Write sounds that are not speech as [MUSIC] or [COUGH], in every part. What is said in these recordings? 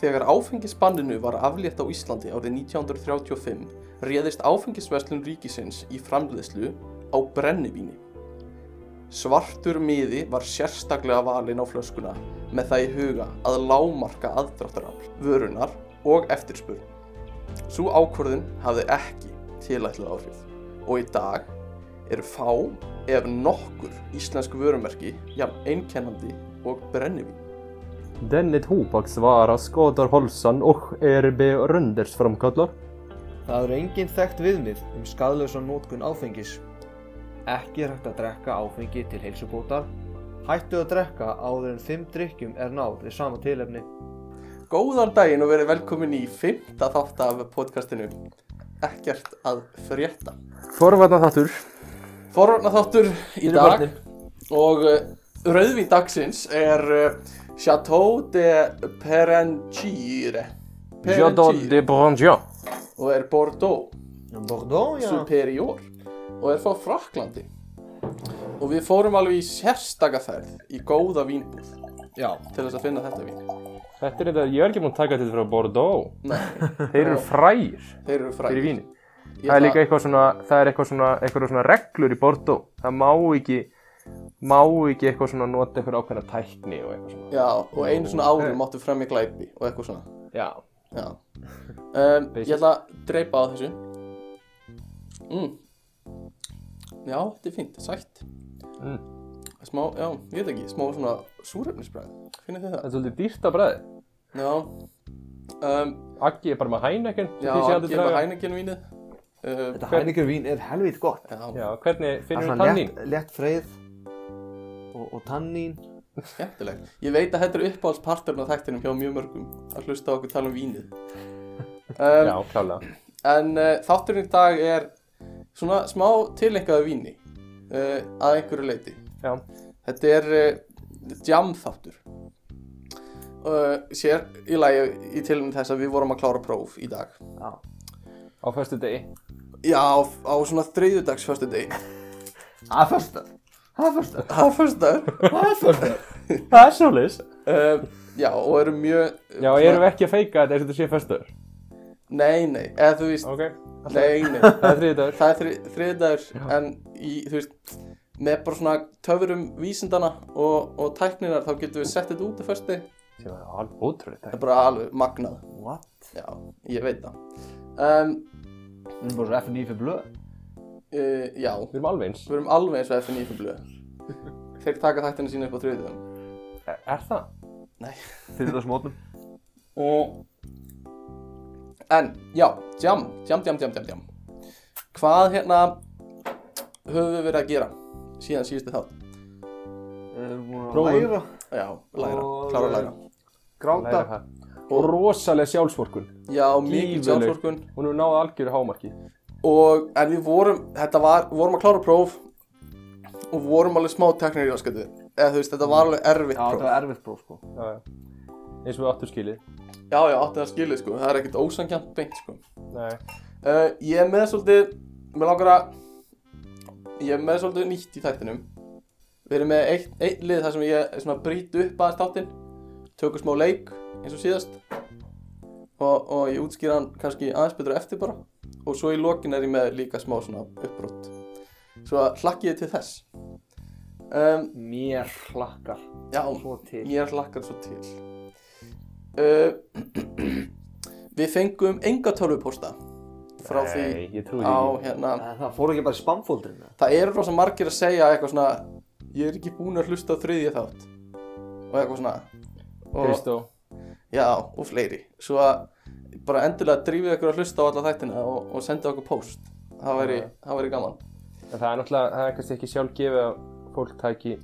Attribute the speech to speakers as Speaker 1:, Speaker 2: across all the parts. Speaker 1: Þegar áfengisbanninu var aflétt á Íslandi árið 1935 réðist áfengisverslun ríkisins í framleiðslu á brennivíni. Svartur miði var sérstaklega valinn á flöskuna með það í huga að lámarka aðdráttarafl, vörunar og eftirspurn. Sú ákvörðun hafði ekki tilætluð áhrif og í dag eru fá ef nokkur íslensku vörumerki jafn einkennandi och brennivín.
Speaker 2: Denna tobaksvara skadar hálsan och är beröndesframkallar.
Speaker 3: Það eru engin þekkt viðmið um skadlausan nótkun áfengis. Ekki er hægt að drekka áfengi til heilsubóta. Hættu að drekka áður en 5 drikkjum er náð við sama tilefni.
Speaker 1: Góðan daginn og verið velkomin í fymta þátt af podcastinu Ekkert að frétta
Speaker 2: Forvarna þáttur.
Speaker 1: Forvarna þáttur í
Speaker 2: Fyrir
Speaker 1: dag
Speaker 2: börnin.
Speaker 1: og uh, rauðvín dagsins er uh, Chateau de Perencire
Speaker 2: Jadot de Brangia.
Speaker 1: og er Bordeaux
Speaker 3: Bordeaux, já.
Speaker 1: Superior og er frá Fraklandi og við fórum alveg í sérstaka ferð í góða vínbúð
Speaker 3: Já,
Speaker 1: til þess að finna þetta vín
Speaker 2: Þetta er þetta, ég er ekki búinn að taka þetta frá Bordeaux.
Speaker 1: Nei,
Speaker 2: Þeir eru frægir
Speaker 1: þeir eru frægir
Speaker 2: fyrir víni.
Speaker 1: Ég
Speaker 2: Það er
Speaker 1: ætla-
Speaker 2: líka eitthvað svona, það er eitthvað svona, eitthvað svona reglur í Bordeaux. Það má ekki, má ekki eitthvað svona nota eitthvað ákveðna tækni og eitthvað svona.
Speaker 1: Já, og einu svona árum máttu fremja glæpi og eitthvað svona
Speaker 2: Já.
Speaker 1: Já um, Ég
Speaker 2: Basic.
Speaker 1: ætla að dreipa á þessu mm. Já, þetta er fínt, sætt
Speaker 2: Mm.
Speaker 1: Smá, já, ég veit ekki, smá svona súrefnisbræð Finnir þið
Speaker 2: Það
Speaker 1: það?
Speaker 2: er svolítið dýrt að bræði.
Speaker 1: Já um,
Speaker 2: Aggi er bara með hænekin.
Speaker 1: Já, að gefa hæningin vínið uh,
Speaker 3: þetta Heineken vín er helvit gott.
Speaker 1: Já,
Speaker 2: Já,
Speaker 3: Það
Speaker 2: hvernig
Speaker 3: er
Speaker 2: finnur við
Speaker 3: svona
Speaker 2: tannín?
Speaker 3: létt, létt freið og, og tannín.
Speaker 1: skemmtilegt Ég veit að þetta er uppáhaldsparturinn á þættinum hjá mjög mörgum að hlusta á okkur tala um
Speaker 2: [LAUGHS]
Speaker 1: vínið um,
Speaker 2: Já, klálega.
Speaker 1: En uh, þátturinn í dag er svona smá tilengjaðu víni uh, að einhverju leiti.
Speaker 2: Já.
Speaker 1: Þetta er uh, jamþáttur. Uh, sér í lagi í tilum þess að við vorum að klára próf í dag.
Speaker 3: Já.
Speaker 2: Á föstu degi.
Speaker 1: Já, á, á svona þriðjudags fyrstu degi.
Speaker 2: [LAUGHS]
Speaker 3: Það er fyrstað. Það er fyrstað.
Speaker 1: Það er fyrstu dagur.
Speaker 3: Það er fyrstað.
Speaker 2: Það er svolítið.
Speaker 1: Uh, já, og eru mjög...
Speaker 2: Já, erum við ekki að feika þetta eins og þetta sé föstuður?
Speaker 1: Nei, nei, eða þú veist,
Speaker 2: Ok.
Speaker 1: nei,
Speaker 2: [LAUGHS]
Speaker 1: nei.
Speaker 2: Það er þriðið
Speaker 1: [LAUGHS]
Speaker 2: dagur.
Speaker 1: Það er þri, þriðdagur en í, þú veist, með bara svona töfurum vísindana og, og tækninar þá getum við sett þetta út að fyrstu degi.
Speaker 2: Það er alveg ótrúlega
Speaker 1: Það
Speaker 2: þetta.
Speaker 1: er bara alveg magnað.
Speaker 3: What?
Speaker 1: Já, ég veit það. Um,
Speaker 3: Við erum bara svo FNI fyrir blöð.
Speaker 1: uh, já,
Speaker 2: Við erum alveg eins.
Speaker 1: við erum alveg eins og FNI fyrir blöð. Þeir taka þættina sína upp á þriðum.
Speaker 2: Er, er það?
Speaker 3: Fyrir það [LAUGHS] smótnum.
Speaker 1: Og... En, já, jam, jam, jam, jam, jam, jam. Hvað hérna höfum við verið að gera síðan síðusti þátt?
Speaker 3: Við erum búin að
Speaker 2: Prófum.
Speaker 3: læra,
Speaker 1: Já, læra,
Speaker 3: Og-
Speaker 1: klára að læra.
Speaker 3: gráta.
Speaker 2: Læra það. Og rosalega sjálfsvorkun.
Speaker 1: Já, mikið
Speaker 2: Gífurleg.
Speaker 1: sjálfsorkun.
Speaker 2: Hún hefur náð algjöru hámarki.
Speaker 1: Og, en við vorum, þetta var, vorum að klára próf og vorum alveg smá teknir í áskættu. Eða þú veist, þetta var alveg erfitt
Speaker 3: Já, það
Speaker 1: próf.
Speaker 3: var erfitt próf sko.
Speaker 2: Já, já. Eins og við áttum skilið.
Speaker 1: Já, já, átti það skilið, sko. Það er ekkert ósangjönd beint, sko.
Speaker 2: Nei.
Speaker 1: Uh, ég er með svolítið, mér langar að, ég er með svolítið nýtt í þættinum. Við erum með eitt, eitt lið þar sem ég svona brýt upp aðeins þáttinn, tökum smá leik eins og síðast og, og ég útskýra hann kannski aðeins betur á eftir bara og svo í lokin er ég með líka smá svona uppbrott. Svo að hlakki ég til þess. Um,
Speaker 3: Mér hlakkar
Speaker 1: já,
Speaker 3: svo til.
Speaker 1: ég er hlakkar svo til. Uh, [CLEARS THROAT] við fengum enga tölvupósta frá því
Speaker 2: Nei, ég trúi
Speaker 1: á
Speaker 2: því.
Speaker 1: hérna
Speaker 3: En það fór ekki bara í spamfóldurinn eða?
Speaker 1: það eru rosa margir að segja eitthvað svona ég er ekki búin að hlusta á þriðja þátt og eitthvað svona og,
Speaker 2: Kristó.
Speaker 1: já, og fleiri svo að bara endurlega drífið ykkur að hlusta á alla þættina og, og senda okkur post það væri,
Speaker 2: Já.
Speaker 1: það væri gaman
Speaker 2: En það er náttúrulega, það er kannski ekki sjálfgefið að fólk tæki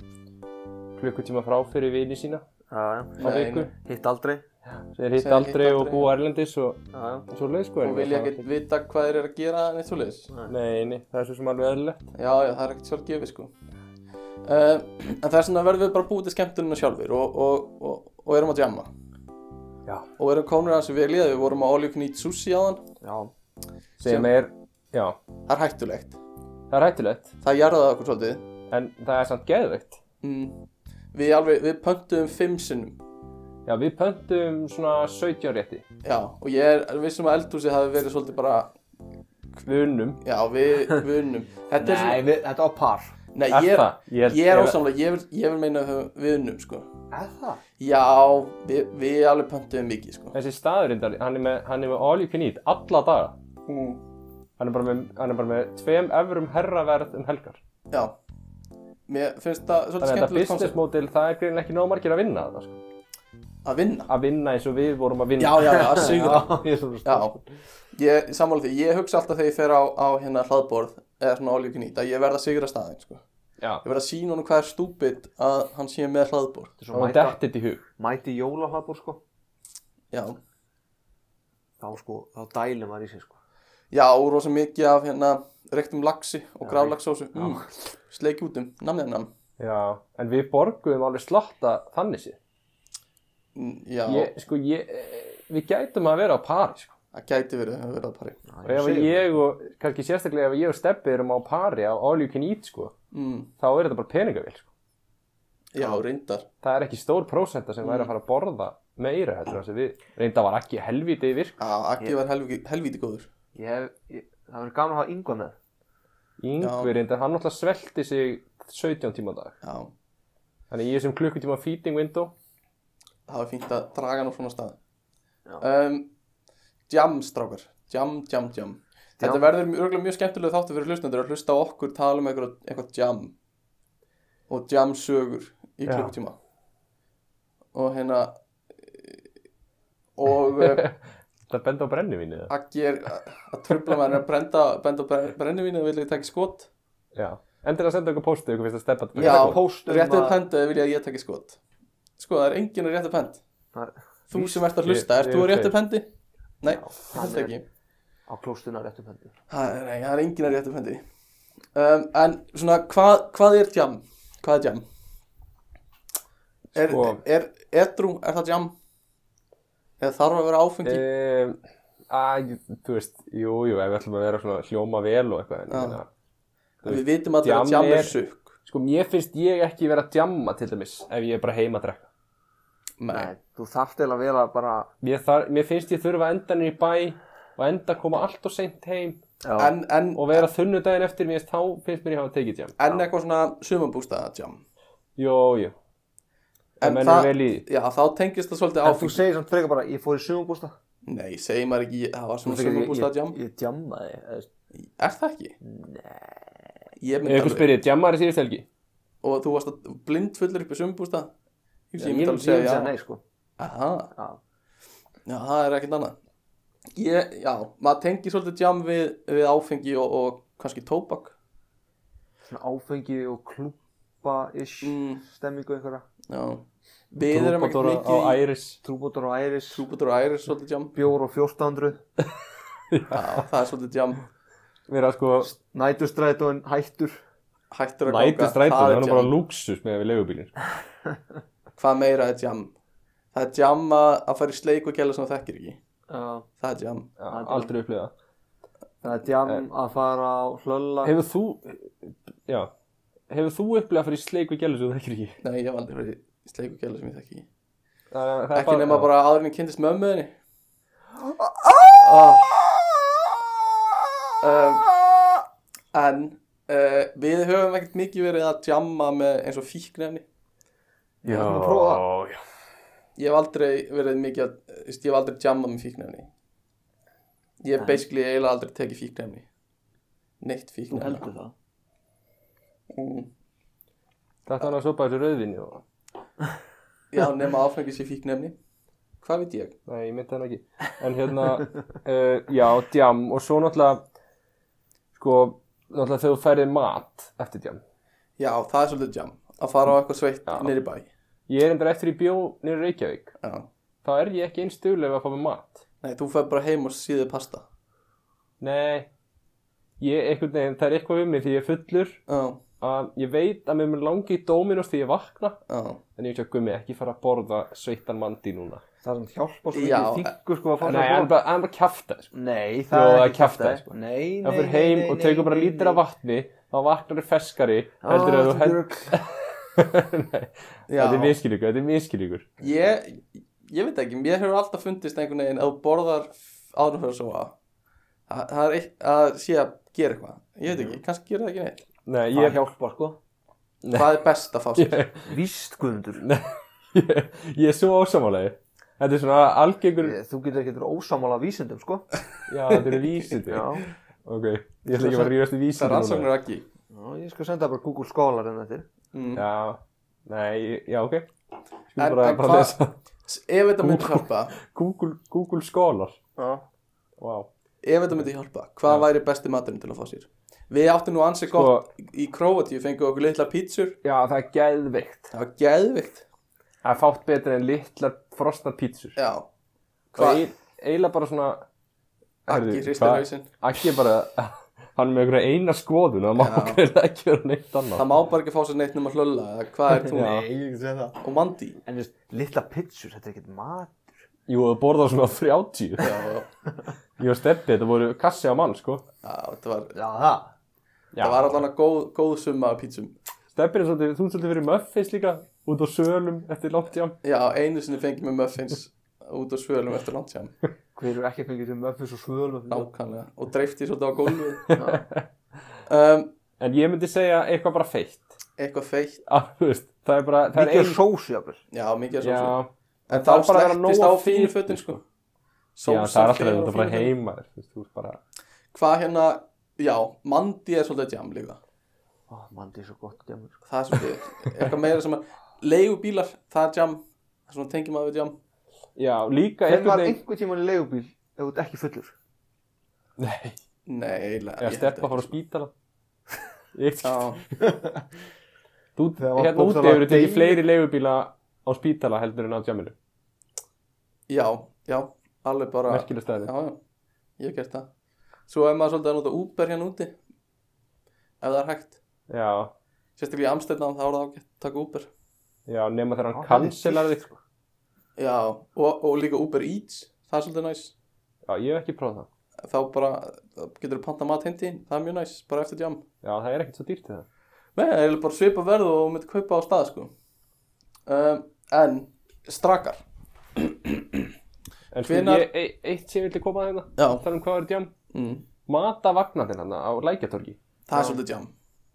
Speaker 2: klukkutíma frá fyrir vini sína
Speaker 3: Já, já.
Speaker 2: á
Speaker 1: Nei,
Speaker 2: viku.
Speaker 1: nei.
Speaker 3: Hitt aldrei.
Speaker 2: Þeir hitt
Speaker 1: Sem hitt
Speaker 2: aldrei og
Speaker 1: aldrei.
Speaker 2: búa erlendis og
Speaker 3: Já, já.
Speaker 2: og svo leið sko. en
Speaker 1: og vilja
Speaker 2: það-
Speaker 1: ekkert vita hvað þeir eru að gera neitt svo leiðis já,
Speaker 2: Nei, nei, það er svo sem alveg eðlilegt.
Speaker 1: já, það er ekkert sjálf gefið sko uh, en það er svona verðum við bara búið til skemmtunina sjálfur og, og, og, og erum að jamma
Speaker 2: Já.
Speaker 1: og erum konur hans við liða, við vorum að all you can eat sushi á
Speaker 3: Já.
Speaker 2: Sem er, já,
Speaker 1: það er hættulegt
Speaker 2: Það er hættulegt,
Speaker 1: Það jarðaði okkur svolítið.
Speaker 2: en það er samt geðveikt.
Speaker 1: Mm. Við alveg, við pöntuðum fimm sinnum.
Speaker 2: Já, við pöntum svona 17 rétti.
Speaker 1: Já, og ég er vissum að eldhúsið hafi verið svolítið bara,
Speaker 2: Við unnum.
Speaker 1: já, við, við unnum. Þetta er
Speaker 3: Nei,
Speaker 1: svona,
Speaker 3: við, þetta á par.
Speaker 1: nei,
Speaker 2: Er
Speaker 1: ég er,
Speaker 2: það? Ég,
Speaker 1: ég er ósamlega, ég vil, ég vil meina að höfum- við unnum, sko.
Speaker 3: Er það?
Speaker 1: Já, við, við alveg pöntuðum mikið, sko.
Speaker 2: Þessi staðurindar, hann er með, hann er með all you can eat, alla daga.
Speaker 1: Mm.
Speaker 2: Hann er bara með, hann er bara með tveim efrum herraverð um helgar.
Speaker 1: Já, mér finnst það svolítið
Speaker 2: Þannig að þetta
Speaker 1: skemmtilegt
Speaker 2: business
Speaker 1: koncept
Speaker 2: model, það er greinilega ekki nóg margir að vinna þetta, sko.
Speaker 1: að vinna.
Speaker 2: Að vinna eins og við vorum að vinna.
Speaker 1: Já, já, já, að sigra.
Speaker 2: [LAUGHS]
Speaker 3: ég er svona
Speaker 1: Já, ég sammála því, ég hugsa alltaf þegar ég fer á, á hérna hlaðborð eða svona oljukinn ít að ég verð að sigra staðinn sko.
Speaker 2: Já.
Speaker 1: Ég verð að sína honum hvað er stúpid að hann sé með hlaðborð.
Speaker 3: Þetta er
Speaker 2: Og
Speaker 3: svo
Speaker 2: hún
Speaker 3: mæta,
Speaker 2: dettit í hug.
Speaker 3: mæti jólahlaðbúr sko.
Speaker 1: Já,
Speaker 3: Þá sko, þá dælir maður í sig sko.
Speaker 1: já og rosa mikið af hérna reyktum laxi og
Speaker 3: Já,
Speaker 1: grálagsósu, mm, sleiki út um, namnið namn.
Speaker 2: Já. En við borguðum alveg slotta þannig séð.
Speaker 1: Mm, Já,
Speaker 2: Ég, sko, ég, við gætum að vera á pari, sko.
Speaker 1: það gæti verið, það hefur verið að pari.
Speaker 3: Já,
Speaker 2: Og ef
Speaker 3: segi
Speaker 2: ég og, kannski sérstaklega ef ég og Steppi erum á pari á all you can eat, sko,
Speaker 1: Mm,
Speaker 2: þá er þetta bara peningavill, sko.
Speaker 1: já, reyndar.
Speaker 2: Það er ekki stór prósenta sem væri að fara að borða meira, heldur það sem við. Reynda var ekki helvítið virk.
Speaker 1: Já, Akki var helvíti, helvíti góður.
Speaker 3: það. Ég hef, ég, það verður gaman að hafa yngva með.
Speaker 2: Yngvi reynda, hann náttúrulega svelti sig 17 tíma á dag.
Speaker 1: Já,
Speaker 2: Þannig ég er sem klukkutíma feeding window.
Speaker 1: það var fínt að draga hann á svona stað.
Speaker 3: Já.
Speaker 1: Um, jam, strákar. Jam, jam, jam. Þetta
Speaker 3: Jam.
Speaker 1: verður örgulega mjög skemmtilega þáttu fyrir hlustendur að hlusta á okkur tala um eitthvað, eitthvað jam og jam sögur í
Speaker 2: Já.
Speaker 1: klukktíma. Og hérna og eh,
Speaker 2: Það benda á brennivínið. það.
Speaker 1: Aggi er að trubla maður að brenda, benda á brennivínu og vilja ekki taka skot.
Speaker 2: Já. Endur að senda okkur postið, okkur finnst að steppa
Speaker 1: Já,
Speaker 3: póst um
Speaker 1: réttið
Speaker 3: að-
Speaker 1: pendu eða vilja að ég taka skot. Sko, það er enginn að réttið pend.
Speaker 3: Það er
Speaker 1: Þú sem ert að
Speaker 2: Ég-
Speaker 1: hlusta, ert
Speaker 2: ég
Speaker 1: þú
Speaker 2: er
Speaker 1: að réttið
Speaker 2: tveir.
Speaker 1: pendi? Nei,
Speaker 3: hann
Speaker 1: þetta
Speaker 3: er-
Speaker 1: ekki.
Speaker 3: á klóstuna réttum hendur.
Speaker 1: Það er, nei, það er enginn að réttu fendi um, En svona, hvað, hvað er jam? Hvað er jam? Er,
Speaker 2: Sko.
Speaker 1: er, er, edrú, er það jam? Eða þarf að vera áfengi?
Speaker 2: Um, að, þú veist, jú, jú, ef við ætlum að vera svona hljóma vel og eitthvað, en
Speaker 1: Já.
Speaker 2: ég meina,
Speaker 1: En við vitum allir að
Speaker 2: djamm
Speaker 1: jam Eh, er
Speaker 2: er-
Speaker 1: sukk
Speaker 2: sko, mér finnst ég ekki vera að djamma til dæmis ef ég er bara heima að drekka.
Speaker 1: Nei,
Speaker 3: þú þarft eða vel að bara...
Speaker 2: Mér, þar, mér finnst ég þurfa að enda niður í bæ og enda að koma allt og seint heim
Speaker 3: Já,
Speaker 1: en, en,
Speaker 2: og vera þunnu daginn eftir, mér finnst þá finnst mér ég hafa tekið djam.
Speaker 1: en eitthvað svona sumabústaða jam
Speaker 2: Jú, jú,
Speaker 1: En
Speaker 2: það mennum
Speaker 1: það-
Speaker 2: vel í því.
Speaker 1: Já, þá tengist það svolítið
Speaker 3: en þú
Speaker 1: áfengi
Speaker 3: segir samt frekar bara, ég fór í sumabústa.
Speaker 1: Nei, segir maður ekki, ég- það var svona sumabústaða jam
Speaker 3: Ég, ég djammaði. eða,
Speaker 1: Er það ekki? Nei Ég myndi
Speaker 2: Ef ykkur
Speaker 1: alveg-
Speaker 2: spyrir, djammar í síðust helgi?
Speaker 1: Og þú varst að- blindfullur upp í sumabústaða Ég
Speaker 3: Ég
Speaker 1: myndi
Speaker 3: myndi
Speaker 1: alveg segja
Speaker 3: segja
Speaker 1: já
Speaker 3: nei, sko.
Speaker 1: Aha
Speaker 3: Já.
Speaker 1: Já, það er ekkert annað ég, Já, maður tengir svolítið jam við, við áfengi og, og kannski tóbak
Speaker 3: Svona áfengi og klúpa-ish
Speaker 1: Mm.
Speaker 3: stemmingu einhverja.
Speaker 1: Já Við erum ekkert
Speaker 2: Trúbadóra á
Speaker 1: mikið í
Speaker 2: Æris.
Speaker 3: Trúbótur og æris.
Speaker 1: trúbutur og æris svolítið jam
Speaker 3: Bjór og 1400.
Speaker 1: Já, það er svolítið jam
Speaker 2: Vera sko,
Speaker 3: Nætustrætóin hættur.
Speaker 1: Hættur að
Speaker 2: næti
Speaker 1: það
Speaker 2: strætun, það
Speaker 1: er
Speaker 2: er nú bara
Speaker 1: jam
Speaker 2: lúksus með við leigubílinn.
Speaker 1: Hvað meira er jam? Það er jam að, að fara í sleik og gæla sem það þekkir ekki
Speaker 3: Já.
Speaker 1: Það er jam
Speaker 2: Já, Aldrei upplifað.
Speaker 3: Það er djam að fara á hlölla.
Speaker 2: Eh. Hefur þú, já, hefur þú upplegað fyrir sleik við gælu sem þú þekkir ekki?
Speaker 1: Nei, ég hef aldrei verið í sleik og gæla sem ég þekki ekki
Speaker 2: Það, það
Speaker 1: Ekki nema bara áður en ég kynntist mömmuðinni um, En uh, við höfum ekkert mikið verið að jamma með eins og fíknefni
Speaker 2: Já,
Speaker 3: Ég ætla að prófa
Speaker 2: já.
Speaker 1: Ég hef aldrei verið mikið að, þú veist, ég hef aldrei jammað með fíknefni Ég hef
Speaker 3: Nei.
Speaker 1: basically eiginlega aldrei tekið fíknefni Neitt
Speaker 3: Þú
Speaker 1: fíknefni
Speaker 3: heldur það.
Speaker 1: Mm.
Speaker 2: Þetta var að sopa þessu rauðvinni og,
Speaker 1: Já, nema áfengis í fíknefni Hvað veit ég?
Speaker 2: nei, ég myndi hann ekki. En hérna, [LAUGHS] uh, já, djam og svo náttúrulega, sko, náttúrulega þegar þú færið mat eftir djam.
Speaker 1: Já, það er svolítið jam Að fara á eitthvað sveitt
Speaker 2: Já.
Speaker 1: niður í bæ
Speaker 2: Ég er endur eftir í bjó nýri Reykjavík,
Speaker 1: Já.
Speaker 2: þá er ég ekki einn stuglega að fá með mat.
Speaker 1: Nei, þú fer bara heim og síðið pasta
Speaker 2: Nei, ég, einhvern veginn, það er eitthvað við mig því ég er fullur
Speaker 1: Já,
Speaker 2: að ég veit að mér mun langi í Dominos þegar ég vakna
Speaker 1: Já,
Speaker 2: en ég veit ekki að gummi ekki fara að borða sveittan mandi núna
Speaker 3: Það sem hjálpa svo
Speaker 1: Já,
Speaker 3: mikið þingur sko að fá
Speaker 2: Nei, hann bara, hann bara kjafta sko.
Speaker 3: Nei,
Speaker 2: Jó,
Speaker 3: það
Speaker 2: það
Speaker 3: er
Speaker 2: er
Speaker 3: ekki
Speaker 2: kjaftaði,
Speaker 3: kjaftaði.
Speaker 2: sko.
Speaker 3: Nei, nei,
Speaker 2: það
Speaker 3: nei,
Speaker 2: fyrir heim
Speaker 3: nei,
Speaker 2: og
Speaker 3: nei,
Speaker 2: tekur bara
Speaker 3: nei,
Speaker 2: lítir
Speaker 3: nei.
Speaker 2: af vatni þá vaknar þau ferskari
Speaker 3: Á,
Speaker 2: heldur að þú
Speaker 3: þetta er
Speaker 2: hendur
Speaker 3: rugl.
Speaker 1: já.
Speaker 2: [LAUGHS] þetta er miskilíkur, þetta er miskilíkur
Speaker 1: Ég, ég veit ekki, mér hefur alltaf fundist einhvern veginn að þú borðar áður fyrir að sofa að það er eitt að sé að gera eitthvað ég veit ekki, kannski gera það ekki neitt
Speaker 2: Nei,
Speaker 3: Það
Speaker 2: [LAUGHS] ég,
Speaker 3: hjálpar sko
Speaker 1: það er best að fá sér
Speaker 2: [LAUGHS] ég,
Speaker 3: Víst guðundur
Speaker 2: ég, ég er svo ósamálegi þetta er svona algengur
Speaker 3: Þú getur ekki verið ósamála vísindum sko
Speaker 2: já, þetta eru vísindi
Speaker 3: Já,
Speaker 2: ok, ég ætla ekki að fara að ríðast í
Speaker 1: það er
Speaker 2: vísindi núna.
Speaker 1: rannsóknir ekki
Speaker 3: Já ég skal senda bara Google Scholar hérna en þetta
Speaker 1: mm.
Speaker 2: já, nei, ég- já, ok Skal
Speaker 1: En-
Speaker 2: bara,
Speaker 1: en
Speaker 2: bara
Speaker 1: hvað-
Speaker 2: lesa
Speaker 1: ef þetta myndi hjálpa
Speaker 2: Google, Google Scholar
Speaker 3: Já
Speaker 2: wow.
Speaker 1: ef þetta myndi hjálpa, hvað
Speaker 2: Já.
Speaker 1: væri besti maturinn til að fá sér við áttum nú ansið
Speaker 2: Sko-
Speaker 1: gott í Króatíu, fengum okkur litla pítsur
Speaker 2: já, það er geðveikt
Speaker 1: það var geðvikt
Speaker 2: það er fátt betur en litlar frosna pítsur
Speaker 1: já,
Speaker 2: og
Speaker 1: hvað,
Speaker 2: ei- eiginlega bara svona
Speaker 1: Akki
Speaker 2: Heyrðu,
Speaker 1: hristir
Speaker 2: hvað-
Speaker 1: hausinn.
Speaker 2: Akki er bara, [LAUGHS] hann er með einhverja eina skoðun og það má
Speaker 1: Já.
Speaker 2: greið ekki vera neitt annað
Speaker 1: það má bara ekki fá sér neitt nema hlulla eða hvað
Speaker 2: [LAUGHS]
Speaker 1: er þú
Speaker 2: Já.
Speaker 3: ég ekki segja það
Speaker 1: og mandi
Speaker 3: En þú veist, litla pitsur, þetta er ekkert mat
Speaker 2: Jú, það borða svona 30
Speaker 1: já, já,
Speaker 2: Ég var steppið, þetta voru kassi á mann, sko
Speaker 1: þetta var
Speaker 3: Já, það
Speaker 2: Já,
Speaker 1: Það var allan að góð, góð summa af pítsum.
Speaker 2: Steppið er svolítið, þú ert svolítið fyrir muffins líka út á sölum eftir langt jám
Speaker 1: Já, einu sinni fengið mér muffins út á svölum eftir landsjám,
Speaker 3: Hver er ekki fengið til möfnus og svölu
Speaker 1: nákvæmlega, og dreifti svolítið á gólfið. Um,
Speaker 2: En ég myndi segja eitthvað bara feitt [LAUGHS]
Speaker 1: eitthvað feitt,
Speaker 2: Að, þú veist, það er bara, það er
Speaker 3: Mikið ein... sósu, jafnvel
Speaker 1: já, mikið svo
Speaker 2: Já,
Speaker 1: svo. En þá
Speaker 2: það er bara að vera
Speaker 1: slektist á
Speaker 2: nóg af
Speaker 1: fínu
Speaker 2: fitu,
Speaker 1: fötin, sko.
Speaker 2: já,
Speaker 1: Sósa
Speaker 2: það er alltaf
Speaker 1: fer
Speaker 2: þetta
Speaker 1: á fínu
Speaker 2: bara
Speaker 1: fötin.
Speaker 2: heima þér, þú veist, þú veist bara
Speaker 1: Hvað hérna, já, mandi er svolítið jam líka.
Speaker 3: Ó, mann, það er svo gott djamur sko.
Speaker 1: Það er svolítið, eitthvað meira sem að, leigubílar, það er jam, það er svona tengið maður við jam.
Speaker 2: Já, líka
Speaker 3: Þegar
Speaker 2: einhvern
Speaker 3: maður
Speaker 2: veginn
Speaker 3: einhvern tímann í leigubíl ef þú ert ekki fullur
Speaker 2: [LAUGHS] Nei,
Speaker 1: Nei, eiginlega.
Speaker 2: eða
Speaker 1: ég held
Speaker 2: steppa
Speaker 1: ekki. sko.
Speaker 2: fór á spítala Ég,
Speaker 1: Já,
Speaker 2: Þú,
Speaker 3: Þegar var
Speaker 2: hérna úti
Speaker 3: bókstaflega
Speaker 2: hefur tekið
Speaker 3: deyjandi.
Speaker 2: fleiri leigubíla á spítala heldur en á djaminu.
Speaker 1: já, já, alveg bara.
Speaker 2: Merkileg staðið.
Speaker 1: Já, já, ég hef gert það. Svo er maður svolítið að nota Uber hérna úti, ef það er hægt.
Speaker 2: Já,
Speaker 1: Sérstaklega í Amstendam þá er það ágætt að taka Uber.
Speaker 2: já, nema þegar hann
Speaker 3: Já,
Speaker 2: cancelar
Speaker 3: það er
Speaker 2: þig. sko.
Speaker 3: dýrt,
Speaker 1: Já, og, og líka Uber Eats, það er svolítið næs.
Speaker 2: Já, ég hef ekki prófað það.
Speaker 1: Þá bara þá getur þú panta mat hindi, það er mjög næs, bara eftir jam.
Speaker 2: Já, það er ekkert svo dýrt í það.
Speaker 1: Nei, það er bara svipa verð og þú myndir kaupa á stað, sko. Um, en, strakar.
Speaker 2: En sko,
Speaker 1: Hvenær-
Speaker 2: ég, e eitt sem ég vildi koma að hérna,
Speaker 1: Já.
Speaker 2: þar um hvað er djam,
Speaker 1: Mm,
Speaker 2: mata vagnatinn hann á lækjartorgi.
Speaker 1: það er svolítið jam.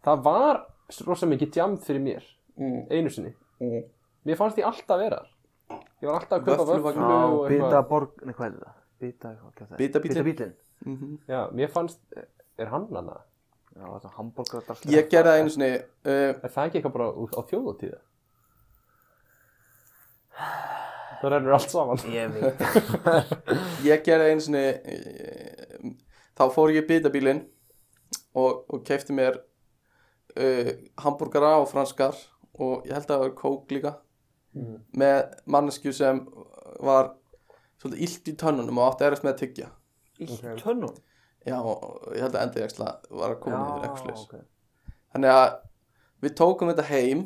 Speaker 2: Það var rosa mikið djam fyrir mér,
Speaker 1: Mm.
Speaker 2: einu sinni.
Speaker 1: Mm.
Speaker 2: Mér fannst ég alltaf vera þar. Ég var alltaf að kaupa
Speaker 1: Vöffluvagn.
Speaker 2: vöflu
Speaker 3: Já,
Speaker 2: og
Speaker 3: bita
Speaker 2: eitthvað.
Speaker 3: borg, nei hvað er það? Bita, hvað kemur það?
Speaker 1: Bitabíllinn.
Speaker 3: Bitabíllinn.
Speaker 1: Mhm.
Speaker 2: Já, mér fannst, er hann hann að?
Speaker 3: Já, þetta er hambúrgardarslega.
Speaker 1: Ég gerði það einu sinni, uh,
Speaker 2: Er það ekki eitthvað bara út á þjóðatíða? Það rennur allt saman.
Speaker 3: Ég veit.
Speaker 1: Ég gerði einu sinni eh, þá fór ég í bitabílinn og, og kefti mér uh, hambúrgara og franskar og ég held að það var kók líka með mannesku sem var svolítið illt í tönnunum og átti erist með að tyggja
Speaker 3: Ítt tönnum.
Speaker 1: já, og ég held að endið eksla var að koma niður eitthvað slags
Speaker 3: ok.
Speaker 1: þannig að við tókum þetta heim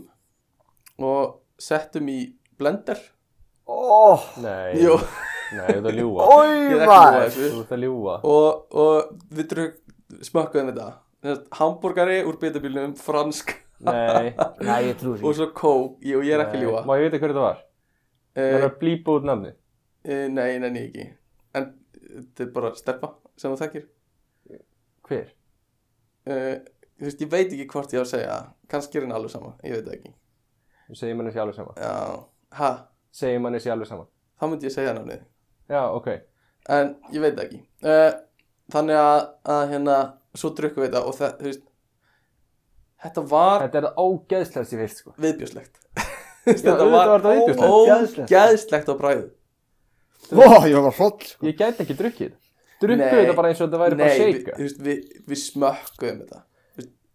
Speaker 1: og settum í blender
Speaker 3: Ó,
Speaker 2: Nei,
Speaker 1: Jú,
Speaker 2: nei, þú ert að ljúa
Speaker 1: ég er
Speaker 3: oi
Speaker 1: ekki búið
Speaker 3: maður.
Speaker 1: þessu
Speaker 2: Þú ert að ljúa
Speaker 1: og, og við drög, smökkuðum þetta Þess, hambúrgari úr bitabílnum, fransk
Speaker 2: Nei,
Speaker 3: Nei, ég trúi
Speaker 1: og
Speaker 3: því.
Speaker 1: svo kók, ég, og ég er ekki að ljúa
Speaker 2: Má ég vita hverju það var? Það er
Speaker 1: uh,
Speaker 2: að blípa út nafni
Speaker 1: eh, nei, nei, nei, ekki en þetta er bara steppa sem þú þekkir
Speaker 2: Hver?
Speaker 1: uh, þú veist, ég veit ekki hvort ég á að segja það. kannski er henni alveg sama, ég veit það ekki
Speaker 2: Segir manni sér alveg saman
Speaker 1: já, ha,
Speaker 2: Segir manni sér alveg saman
Speaker 1: þá myndi ég segja nafnið
Speaker 2: Já, ok
Speaker 1: en ég veit það ekki uh, þannig að, að hérna, svo drukkum við þetta og það, þú veist þetta var
Speaker 2: Þetta er það ógeðslega sem ég veist sko [LAUGHS]
Speaker 1: viðbjörslegt
Speaker 2: auðvitað var þetta viðbjóðslegt.
Speaker 1: ógeðslegt á bræðu
Speaker 3: Ó, ég var hloll.
Speaker 2: Ég gæti ekki drukkið Drukkuð
Speaker 1: Nei.
Speaker 2: þetta bara eins og þetta væri bara
Speaker 1: Nei, við,
Speaker 2: shake
Speaker 1: þú veist, við, við smökkuðum þetta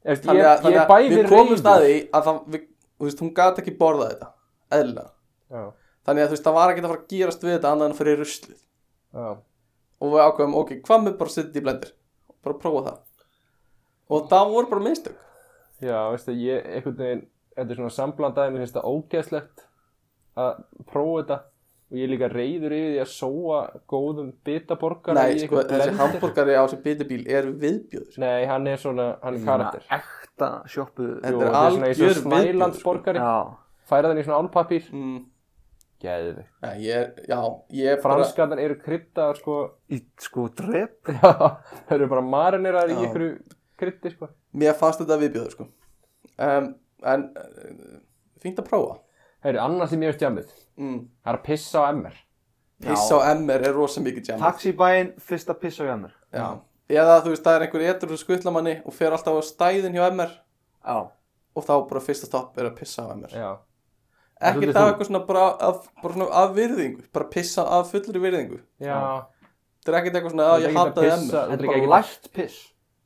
Speaker 2: Ég,
Speaker 1: Þannig að,
Speaker 2: ég, ég
Speaker 1: þannig
Speaker 2: er
Speaker 1: að
Speaker 2: bæði
Speaker 1: við komum
Speaker 2: reyður
Speaker 1: staði að það, við, þú veist, hún gat ekki borða þetta eðlilega
Speaker 2: Já,
Speaker 1: Þannig að þú veist, það var ekki að fara að gýrast við þetta annað en að fyrir ruslið
Speaker 2: já
Speaker 1: Og við ákveðum, ok, hvað með bara að setja þetta í blendir og bara prófa það Og það voru bara mistök
Speaker 2: Já, veistu, ég, einhvern veginn, þetta er svona samblandaði, mér finnst það ógeðslegt að prófa þetta og ég er líka reyður yfir því að sóa góðum bitaborgara
Speaker 1: Nei,
Speaker 2: í
Speaker 1: sko,
Speaker 2: einhvern
Speaker 1: þessi
Speaker 2: blender.
Speaker 1: hambúrgari á þessi bitubíl er viðbjöður.
Speaker 2: Nei, hann er svona, hann er karakter.
Speaker 4: ekta sjoppu
Speaker 1: Þetta
Speaker 2: Jú,
Speaker 1: er
Speaker 2: þetta er svona eins og
Speaker 1: algjör sko. viðbjóður,
Speaker 2: snælandsborgari,
Speaker 4: já,
Speaker 2: færa þannig svona álpapír,
Speaker 1: Mm,
Speaker 2: geðið þig.
Speaker 1: ja, ég er, já, ég er bara,
Speaker 2: Franskarnar eru kryddaðar,
Speaker 1: [LAUGHS]
Speaker 2: sko,
Speaker 4: í sko drep
Speaker 2: já, það eru bara marineraðar í
Speaker 1: Já.
Speaker 2: einhverju kryddi, sko.
Speaker 1: mér fannst þetta viðbjöður, sko. Um, en, uh, fínt að prófa.
Speaker 2: Heyrðu, annars sem ég veist jamið,
Speaker 1: Mm,
Speaker 2: það er að pissa á MR.
Speaker 1: piss á MR er rosa mikið jammer.
Speaker 4: taxibæinn fyrsta piss á jamur
Speaker 1: Já.
Speaker 2: Mm.
Speaker 1: Eða þú veist, það er einhver etur og skuttlamanni og fer alltaf á stæðin hjá MR
Speaker 4: já,
Speaker 1: og þá bara fyrsta stopp er að pissa á MR.
Speaker 2: Já,
Speaker 1: Ekki
Speaker 2: Svolítið
Speaker 1: það
Speaker 2: þú.
Speaker 1: eitthvað svona bara af, bara svona af virðingu, bara pissa af fullri virðingu.
Speaker 2: já.
Speaker 1: Það er ekkert eitthvað svona
Speaker 2: Þú
Speaker 1: að
Speaker 2: ert
Speaker 1: ég
Speaker 2: ekkert að
Speaker 1: hataði
Speaker 2: pissa,
Speaker 1: MR.
Speaker 2: þú ert
Speaker 4: þetta
Speaker 2: líka
Speaker 4: er bara
Speaker 2: ekkert að-
Speaker 4: lægt piss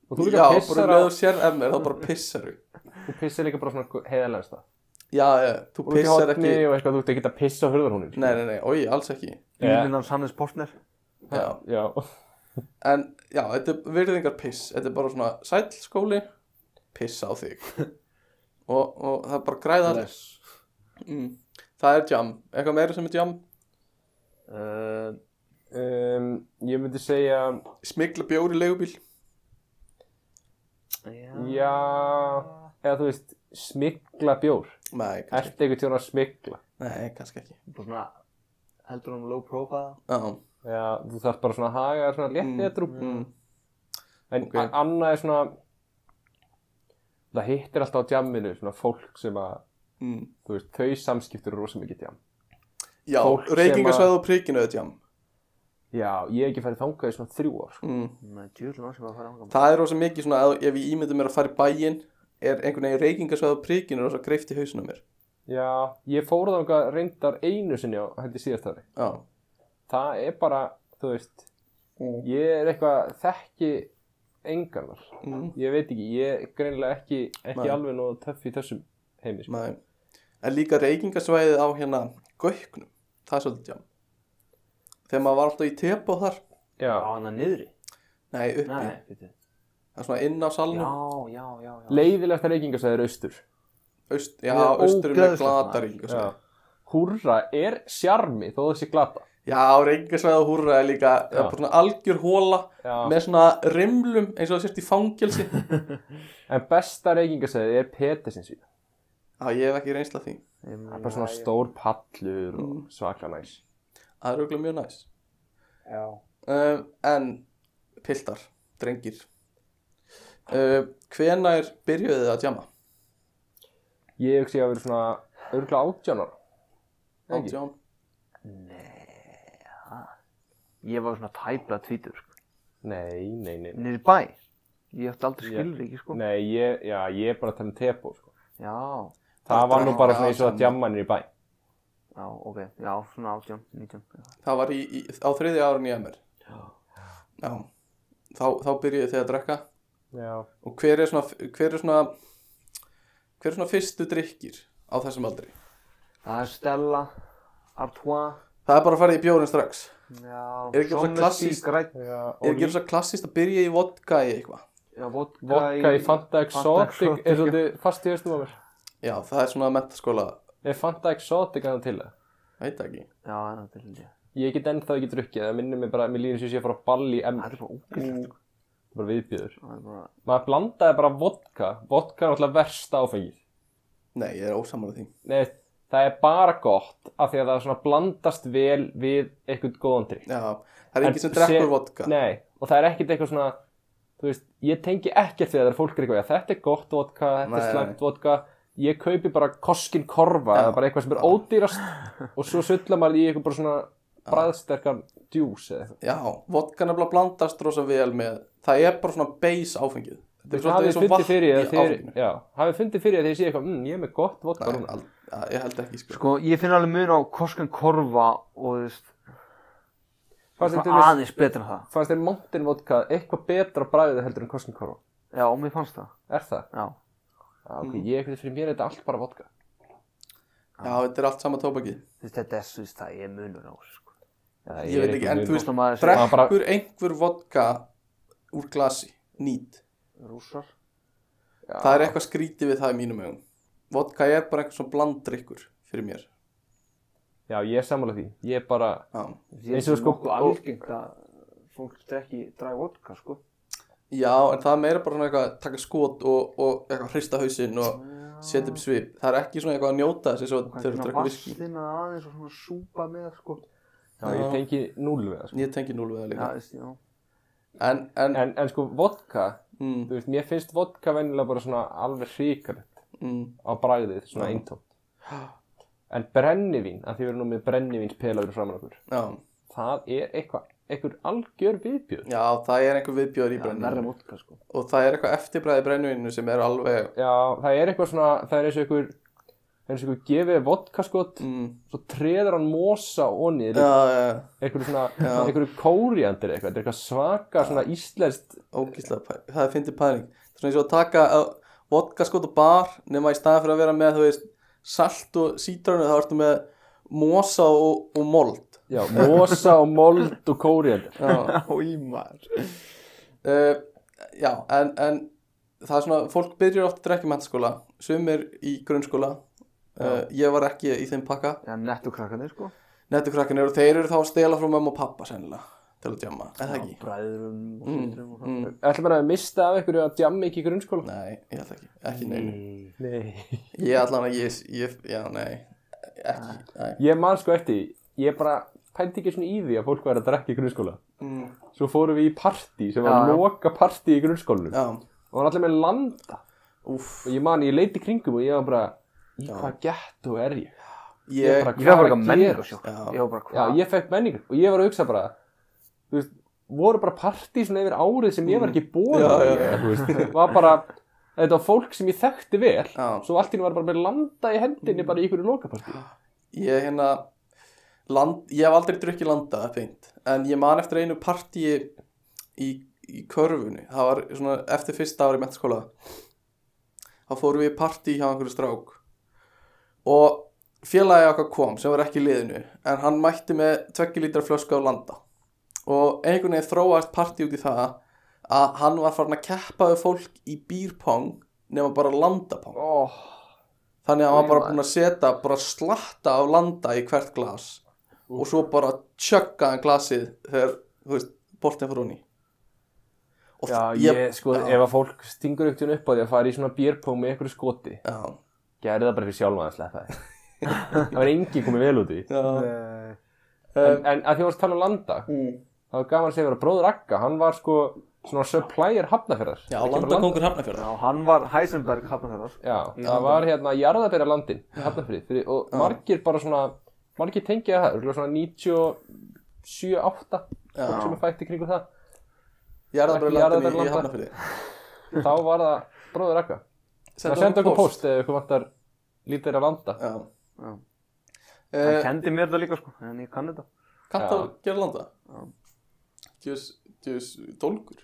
Speaker 2: og
Speaker 1: Já,
Speaker 2: þú líka
Speaker 1: bara
Speaker 2: pissar á
Speaker 1: með þú sér MR, þá bara pissaru.
Speaker 2: Þú pissir líka bara svona heiðarlega stað.
Speaker 1: Já, já, þú
Speaker 2: Þú
Speaker 1: pissar
Speaker 2: pissar
Speaker 1: ekki
Speaker 2: Og eitthvað, þú ert ekki að pissa á hurðarhúnin.
Speaker 1: Nei, nei, nei, oi, alls ekki
Speaker 4: Bílinn hans Hannes Portner
Speaker 1: já.
Speaker 2: Já,
Speaker 1: En já, þetta er virðingar piss Þetta er bara svona sælskóli Piss á þig og, og það er bara græða allir mm. Það er jam, eitthvað meira sem er jam
Speaker 4: uh,
Speaker 2: um, ég myndi segja,
Speaker 1: Smigla bjór í leigubíl
Speaker 4: já.
Speaker 2: já, eða þú veist, smikla bjór.
Speaker 1: Nei, kannski,
Speaker 2: Ertu einhvern tíðan að smikla?
Speaker 1: nei, kannski ekki
Speaker 4: Bara svona, heldur hann low profile
Speaker 1: Já,
Speaker 2: Já, þú þarf bara svona að haga þér svona létt
Speaker 1: Mm,
Speaker 2: eða drú.
Speaker 1: mm.
Speaker 2: En
Speaker 1: Ok.
Speaker 2: okay. annað er svona, það hittir alltaf á djamminu, svona fólk sem að,
Speaker 1: Mm.
Speaker 2: þú veist, þau samskiptur eru rosa mikið djam.
Speaker 1: já
Speaker 2: Fólk sem að-
Speaker 1: reykingasvæð og prikinu er jam
Speaker 2: Já, ég hef ekki farið þangað í svona þrjú ár, sko.
Speaker 1: mm.
Speaker 4: Nei, djúðlega maður sem var að fara ánga
Speaker 1: Það er rosa mikið svona ef- Ef ég ímyndi mér að fara í bæinn Er einhvern veginn reykingasvæð og prikinu rosa greift í hausinu mér
Speaker 2: Já, ég fór þangað reyndar einu sinni á, held ég síðast ári.
Speaker 1: Já,
Speaker 2: það er bara, þú veist
Speaker 1: Mm.
Speaker 2: ég er eitthvað þekki engan þar,
Speaker 1: mm.
Speaker 2: ég veit ekki ég er greinilega ekki, ekki
Speaker 1: Nei.
Speaker 2: alveg nóg töff í þessum heimi sko.
Speaker 1: Nei. En líka reykingasvæðið á hérna Gauknum, það er svolítið jam Þegar maður var alltaf í tepa þar
Speaker 2: já,
Speaker 4: Á hann að niðri
Speaker 1: Nei, uppi,
Speaker 4: Nei, bíddu.
Speaker 1: það er svona inn á salnum
Speaker 4: já, já, já, já
Speaker 2: leiðilegasta reykingasæður austur
Speaker 1: Aust, Já,
Speaker 4: Ég er
Speaker 1: austur með
Speaker 4: ógeðslegt
Speaker 1: glata
Speaker 4: maður.
Speaker 2: já.
Speaker 1: reykingasvæði
Speaker 2: húrra er sjarmi þó þessi glata
Speaker 1: Já, reykingasvæðið og húrra er líka það er bara svona algjör hóla
Speaker 2: já.
Speaker 1: með svona rimlum eins og það sért í
Speaker 2: [LAUGHS]
Speaker 1: fangelsi
Speaker 2: en besta reykingasæður er petisins það
Speaker 1: Já, ég hef ekki reynsla því
Speaker 2: er bara svona stór pallur
Speaker 1: Mm.
Speaker 2: og svaka næs
Speaker 1: Það er auðvitað mjög næs
Speaker 4: Já
Speaker 1: um, En, piltar, drengir uh, Hvenær byrjuðu þið að jama?
Speaker 2: ég hugsi að vera svona örgla átjánar Ekki.
Speaker 1: Átján
Speaker 4: Ég var svona tæpla tvítur
Speaker 2: nei, nei, nei, nei.
Speaker 4: Niður í bæ Ég ætti aldrei
Speaker 2: Ég-
Speaker 4: skilriki, sko
Speaker 2: nei ég, já, ég er bara að tala um tepo sko.
Speaker 4: Já,
Speaker 2: það
Speaker 1: Það
Speaker 2: var nú
Speaker 1: drekka
Speaker 2: bara svona eins og
Speaker 1: átján.
Speaker 2: að djammanir í bæ
Speaker 4: já, ok Já, svona 18, 19 já.
Speaker 1: Það var í, í, á þriði árun í MR Já Þá, þá byrjuðu þið að drekka
Speaker 2: Já,
Speaker 1: Og hver er svona Hver er svona, hver er svona fyrstu drikkir á þessum aldri?
Speaker 4: Það er Stella Artois
Speaker 1: Það er bara að fara í bjórin strax
Speaker 4: Já
Speaker 1: Er ekki svona klassískt-
Speaker 4: grætt
Speaker 2: já,
Speaker 1: Er ekki svo klassist að byrja í vodka í eitthvað?
Speaker 4: Já, vodka,
Speaker 2: Vodka í Fanta Exotic
Speaker 4: Exotic,
Speaker 2: er svolítið fast í höstum á mér.
Speaker 1: Já, það er svona mentaskóla
Speaker 2: Er Fanta Exotic að það til það?
Speaker 1: Veit ekki
Speaker 4: Já, það er til ég
Speaker 2: Ég get ennþá ekki drukkið, það minnir mig bara, mér líður sem sé að fara á ball í M,
Speaker 4: Það er bara ógæslegt, sko
Speaker 2: bara viðbjöður.
Speaker 4: Það er bara
Speaker 2: Maður blandaði bara vodka, vodka er alltaf verst áfengið.
Speaker 1: Nei, ég er ósamlega því
Speaker 2: Nei, það er bara gott af því að það svona blandast vel við eitthvað góðan drikk.
Speaker 1: Já, það er
Speaker 2: En
Speaker 1: enginn sem
Speaker 2: sé-
Speaker 1: drekkur vodka
Speaker 2: Nei, og það er ekkert eitthvað svona, þú veist, ég tengi ekkert því að það er fólk er eitthvað, "Já, þetta er gott vodka, þetta
Speaker 1: Nei,
Speaker 2: er
Speaker 1: nei.
Speaker 2: slæmt vodka, ég kaupi bara koskin korfa
Speaker 1: Já.
Speaker 2: eða bara eitthvað sem er
Speaker 1: [LAUGHS]
Speaker 2: ódýrast og svo sullar maður í eitthvað bara svona bræðsterkan djús eða eitthvað.
Speaker 1: Já, vodka nefnilega blandast rosa vel með Það er bara svona base áfengið Þetta er svolítið
Speaker 2: Hafið
Speaker 1: eins og
Speaker 2: fundið
Speaker 1: vatn
Speaker 2: fyrir
Speaker 1: í
Speaker 2: að þeir,
Speaker 1: áfenginu.
Speaker 2: já, hafið fundið fyrir að þeir séu eitthvað, mm, ég er með gott vodka
Speaker 1: Nei,
Speaker 2: núna.
Speaker 1: al- ja, ég held ekki sko.
Speaker 4: Sko, ég finn alveg mun á Koskan Korva og þú veist
Speaker 2: Fannst þér til
Speaker 4: svona
Speaker 2: dæmis-
Speaker 4: aðeins betra en það
Speaker 2: Fannst þér mountain vodka eitthvað betra bræðið heldur en koskin korfa?
Speaker 4: Já, og mér fannst það
Speaker 2: Er það?
Speaker 4: Já,
Speaker 2: Já,
Speaker 1: Mm.
Speaker 2: ok, ég eitthvað fyrir mér er þetta allt bara vodka.
Speaker 1: Já, þetta er allt sama tóbakið
Speaker 4: þú veist, þetta er, þú veist, það er munur á þessu, sko
Speaker 2: Já,
Speaker 1: Ég
Speaker 2: er
Speaker 1: veit ekki,
Speaker 2: eitthvað
Speaker 1: en
Speaker 2: mun-
Speaker 1: þú veist,
Speaker 4: Hvort að maður sé
Speaker 2: Bara-
Speaker 1: Drekkur einhver vodka úr glasi, nýt
Speaker 4: rússar
Speaker 1: Það er eitthvað skrítið við það í mínum augum. Vodka er bara eitthvað svona blandrykkur fyrir mér.
Speaker 2: Já, ég er sammála því. Ég er bara,
Speaker 1: Já,
Speaker 2: eins og sko-
Speaker 4: nokkuð algengt að fólk drekki dræg vodka sko
Speaker 1: Já en það er meira bara svona eitthvað að taka skot og, og eitthvað hrista hausinn og setja upp svip. Það er ekki svona eitthvað að njóta þess að
Speaker 4: Hvað
Speaker 1: þau eru að
Speaker 4: svona
Speaker 1: drakka viski.
Speaker 4: vatnina aðeins og svona súpa með sko
Speaker 2: já, ég
Speaker 1: Já.
Speaker 2: tengi núl við það, sko.
Speaker 1: Ég tengi núl við það
Speaker 4: Já,
Speaker 1: líka.
Speaker 4: veist, já
Speaker 1: En, en,
Speaker 2: En, en sko, vodka,
Speaker 1: mm,
Speaker 2: þú veist, mér finnst vodka venjulega bara svona alveg hrikalegt
Speaker 1: mm,
Speaker 2: á bragðið, svona
Speaker 1: Já.
Speaker 2: eintótt. En brennivín, að því við erum nú með brennivínspelar framan okkur,
Speaker 1: já.
Speaker 2: það er eitthvað, einhver algjör viðbjörn.
Speaker 1: já, það er einhver viðbjóður í
Speaker 4: Já, nærra
Speaker 1: brenninu.
Speaker 4: vodka
Speaker 1: [LAUGHS]
Speaker 4: sko
Speaker 1: Og það er eitthvað eftirbræði brenninu sem er alveg,
Speaker 2: Já, það er eitthvað svona, það er eins og einhver, það er eins og einhver gefið vodka skot,
Speaker 1: mm,
Speaker 2: svo treður hann mosa onnið,
Speaker 1: já, já, já,
Speaker 2: einhverju svona,
Speaker 1: Já.
Speaker 2: einhverju kóriandir eitthvað, þetta er eitthvað svaka, svona íslenskt,
Speaker 1: ógíslega, pæ- það er fyndið pæling. Það er svona eins og að taka að vodka skot og bar nema í staðan fyrir að vera með, þú veist, salt og sítranu, þá ertu með mosa og, og mold.
Speaker 2: já, mosa og mold og kóriandir.
Speaker 1: Já. [LAUGHS]
Speaker 3: Í maður.
Speaker 1: uh, já, en, en það er svona, fólk byrjar oft að drekka í mentaskóla, sumir í grunnskóla uh, ég var ekki í þeim pakka
Speaker 4: Já, nettu krakkanir sko
Speaker 1: nettukrakkanir og þeir eru þá að stela frá mömmu og pappa sennilega, til að djamma, en það ekki
Speaker 4: Bræðurum og
Speaker 1: Mm,
Speaker 4: sýstrum og
Speaker 1: mm,
Speaker 2: Ætlum bara að mista af einhverju að djammi ekki í grunnskóla?
Speaker 1: nei, ég held ekki, ekki neinu
Speaker 2: Nei.
Speaker 1: ég allan að ég, ég já, nei ekki, nei
Speaker 2: Ég man sko eftir, því, ég bara pændi ekki svona í því að fólk væri að drekka í grunnskóla.
Speaker 1: mm,
Speaker 2: Svo fórum við í partí sem var
Speaker 4: Já, já.
Speaker 2: loka partí í grunnskólanum
Speaker 1: já,
Speaker 2: og var allir með landa
Speaker 1: úff
Speaker 2: og ég man, ég leiti kringum og ég var bara, í hvað gett er ég?
Speaker 1: ég,
Speaker 2: Ég bara,
Speaker 4: Ég var bara
Speaker 2: að
Speaker 4: eitthvað menningu
Speaker 2: gerast?
Speaker 4: sjokk
Speaker 1: Já.
Speaker 4: Ég var bara
Speaker 2: Já,
Speaker 4: hvað
Speaker 2: ég fekk menningar og ég var að hugsa bara þú veist, voru bara partí svona yfir árið sem ég var ekki búin
Speaker 1: Mm. Já, já,
Speaker 2: var bara þetta var fólk sem ég þekkti vel
Speaker 1: Já. Mm.
Speaker 2: svo allt í henni var bara með landa í hendinni bara í ykkur lokapartí
Speaker 1: ég hérna land, ég hef aldrei drukkið landa beint, en ég man eftir einu partíi í, í körfunni það var svona eftir fyrsta ári í mentaskóla þá fórum við í partí hjá einhverju strák og félagi okkar kom sem var ekki í liðinu en hann mætti með 2 lítra flösku af landa og einhvern veginn þróaðist partí út í það að hann var farin að keppa við fólk í býrpong nema bara landapong
Speaker 2: oh,
Speaker 1: Þannig að hann var bara
Speaker 4: Nei,
Speaker 1: búinn að setja bara slatta af landa í hvert glas og svo bara tjökka hann glasið þegar, þú veist, boltinn fór hún í. Og
Speaker 2: Já,
Speaker 1: þ-
Speaker 2: ég, sko,
Speaker 1: já,
Speaker 2: ef að fólk stingur ykkur upp á því að fara í svona björpóng með ykkur skoti
Speaker 1: Já,
Speaker 2: gerði það bara fyrir sjálfan að sleppa [LAUGHS] því það var engi komið vel út í því.
Speaker 1: já,
Speaker 4: Nei.
Speaker 2: en, en að því varst að tala um landa það var gaman að segja að bróður Akka hann var sko svona supplier hafnafjörðar
Speaker 1: já landakongur hafnafjörða.
Speaker 4: Já, hann var Heisenberg hafnafjörðar
Speaker 2: Já, það var hérna jarðabera landin, hafnafrið, fyrir, og margir bara svona, margir tengja það, örugglega svona 97, 8, fólk sem er fætt í kringu það,
Speaker 1: Ég er það
Speaker 2: Ekki
Speaker 1: bara landin í,
Speaker 2: jarðarberg
Speaker 1: í
Speaker 2: landa.
Speaker 1: hafnafjörði.
Speaker 2: þá var það bróður akka. Það sendi okkur post eða ykkur vantar lítið er að landa.
Speaker 1: Já.
Speaker 4: Já. Hann
Speaker 1: Eh,
Speaker 4: kendi mér það líka sko En ég kann þetta
Speaker 1: Katt að gera landa. Djús, djús, dólgur.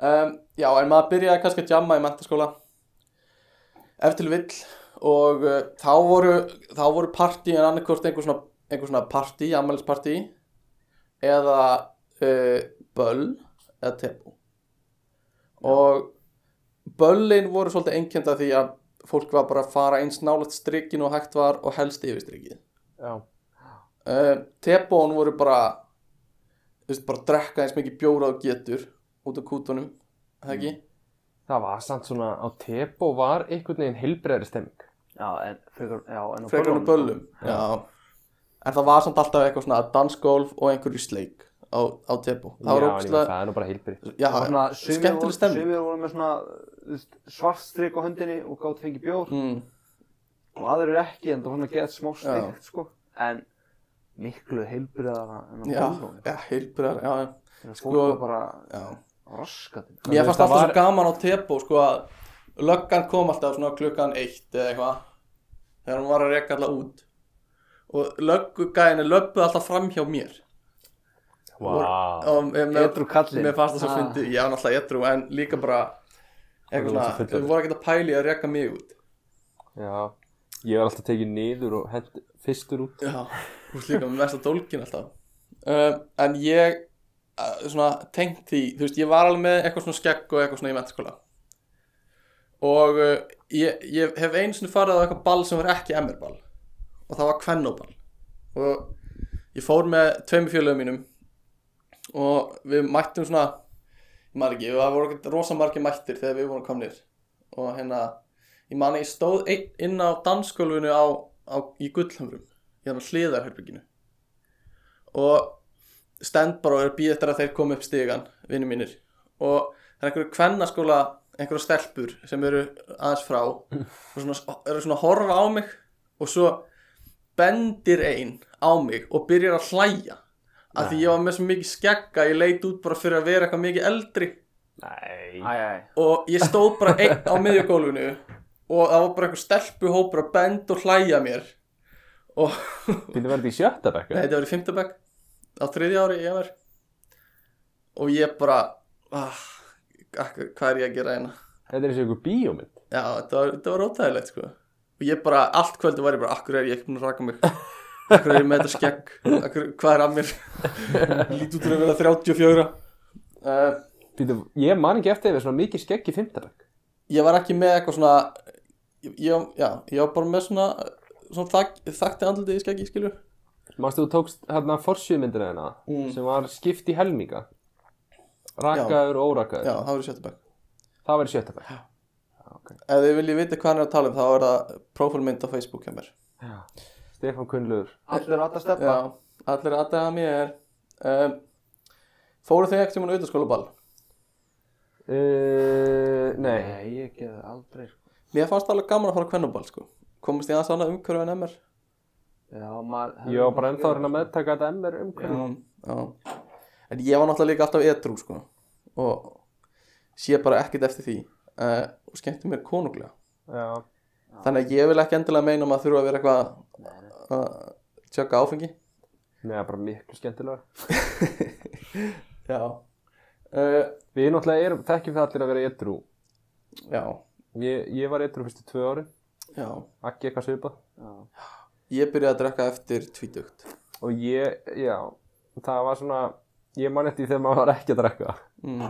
Speaker 1: Um, já, en maður byrjaði kannski að jamma í mentaskóla. ef til vill og uh, þá voru þá voru partí en annarkort einhver svona, einhver svona partí, ammælispartí eða uh, böll eða teppu og böllin voru svolítið einkenda því að fólk var bara að fara eins nálægt strikkin og hægt var og helst yfir strikkið
Speaker 2: Já.
Speaker 1: uh, tepón voru bara þú veist, bara að drekka eins mikið bjóra og getur út af kútunum, það ekki?
Speaker 2: Það var samt svona, á tepo var einhvern veginn heilbreyðri stemming.
Speaker 4: Já, en frekar Já, en á
Speaker 1: frekar en
Speaker 4: böllunum,
Speaker 1: á böllum já. en það var samt alltaf eitthvað svona dansgólf og einhverju sleik á, á tepu það var
Speaker 2: Já, en ég meina,
Speaker 1: ógustlega
Speaker 2: það er nú bara heilbreyð.
Speaker 1: já,
Speaker 4: sko. Svona, sumir
Speaker 1: skemmtileg
Speaker 4: voru-
Speaker 1: stemning.
Speaker 4: Sumir voru með svona þú veist, svart strik á höndinni og gátt fengið bjór
Speaker 1: mm,
Speaker 4: og aðrir ekki en það var svona gett smá
Speaker 1: Já.
Speaker 4: steikt sko en miklu heilbriðara en að
Speaker 1: já,
Speaker 4: bóla
Speaker 1: já, heilbröðar já, já,
Speaker 4: þannig að
Speaker 1: sko-
Speaker 4: fólk var bara
Speaker 1: já.
Speaker 4: raskat
Speaker 1: mér fannst
Speaker 2: það
Speaker 1: alltaf
Speaker 2: var-
Speaker 1: svo gaman á tepu sko að löggan kom alltaf svona klukkan eitt eða eitthvað þegar hún var að reka alltaf út og löggugæðinni löppuð alltaf fram hjá mér
Speaker 2: Vá.
Speaker 1: og, og,
Speaker 4: Edrú kallinn.
Speaker 1: mér fannst það svo
Speaker 4: Ah.
Speaker 1: fyndi ég var náttúrulega edru en líka bara
Speaker 2: Það var
Speaker 1: eitthvað
Speaker 2: svo
Speaker 1: svona,
Speaker 2: fullorðið.
Speaker 1: þau voru ekkert að pæli að reka mig út
Speaker 2: Já, ég var alltaf tekið niður og hent fyrstur út.
Speaker 1: Já, þú veist líka með mesta dólkin alltaf um, En ég uh, svona tengt því, þú veist, ég var alveg með eitthvað svona skegg og eitthvað svona í mentaskóla og uh, ég, ég hef einu sinni farið á eitthvað ball sem var ekki MR-ball og það var kvennóball og ég fór með tveimur fjöluðum mínum og við mættum svona ég maður ekki, það voru ekkert rosa margir mættir þegar við vorum komnir og hérna, ég man að ég stóð einn inn á danskólfinu á, á, í gullhamrum, ég þannig hliðarherbygginu og stend bara og er býð eftir að þeir komi upp stígan vinnu mínir og það er einhverju kvennaskóla einhverju stelpur sem eru aðeins frá og svona, eru svona að horfa á mig og svo bendir ein á mig og byrjar að hlæja af því ég var með svo mikið skegga ég leit út bara fyrir að vera eitthvað mikið eldri
Speaker 4: Æ,
Speaker 2: Nei
Speaker 4: æ,
Speaker 1: og ég stóð bara einn á miðjugólfinu og það var bara einhver stelpuhópur að bend og hlæja mér og
Speaker 2: Býttu verið í sjötta bekk?
Speaker 1: Nei,
Speaker 2: eða?
Speaker 1: þetta var í fymtabæk á þriðja ári ég var og ég bara ah, akkur, hvað er ég að gera hérna
Speaker 2: Þetta er eins og einhver bíómynd
Speaker 1: já, þetta var, þetta var óþægilegt sko og ég bara, allt kvöldu var ég bara akkur er ég ekki búin að raka mig akkur er ég með þetta skegg akkur, hvað er að mér lít út úr að vera 34 uh,
Speaker 2: Býttu, ég man ekki eftir yfir svona mikið skegg í fymta bekk
Speaker 1: ég var ekki með eitthvað svona ég, ég- já, ég var bara með svona svona þak, þakti andlitið í skeggi, skilju
Speaker 2: Manstu, þú tókst hérna forsjömyndina hérna
Speaker 1: Mm.
Speaker 2: sem var skipt í helminga Rakaður og
Speaker 1: já,
Speaker 2: órakaður
Speaker 1: það var í sjöttabæk
Speaker 2: Það var í sjötta bekk
Speaker 1: ef þið viljið vita hvað hann er að tala um þá er það profilmynd á Facebook hjá mér
Speaker 2: Stefán Kunnluður
Speaker 3: Allir átt að steppa.
Speaker 1: Já, allir aðdæða mér um, Fóru þau ekkert um hann auðvitaðskólaball?
Speaker 2: uh, Nei,
Speaker 4: nei, ég gerði það aldrei sko.
Speaker 1: Mér fannst alveg gaman að fara kvennaball sko Komist ég aðeins annað umhverfið en MR
Speaker 4: Já, maður hefði
Speaker 2: ég var bara
Speaker 4: kannski
Speaker 2: ennþá að
Speaker 4: verið-
Speaker 2: reyna að meðtaka þetta MR umhverfum
Speaker 1: um, Já En ég var náttúrulega líka alltaf edrú sko Og sé bara ekkert eftir því uh, Og skemmti mér konunglega
Speaker 2: Já,
Speaker 1: Þannig að ég vil ekki endilega meina um að maður þurfa að vera eitthvað að tjöka áfengi
Speaker 2: neða bara miklu skemmtilega
Speaker 1: Já uh,
Speaker 2: Við náttúrulega erum, þekkjum það allir að vera edru
Speaker 1: Já,
Speaker 2: Ég, ég var edru fyrstu tvö ári
Speaker 1: já
Speaker 2: Akki eitthvað svipað
Speaker 4: Já.
Speaker 1: Ég byrjaði að drekka eftir tvítugt
Speaker 2: Og ég, já, það var svona Ég man eftir því þegar maður var ekki að drekka
Speaker 1: mm.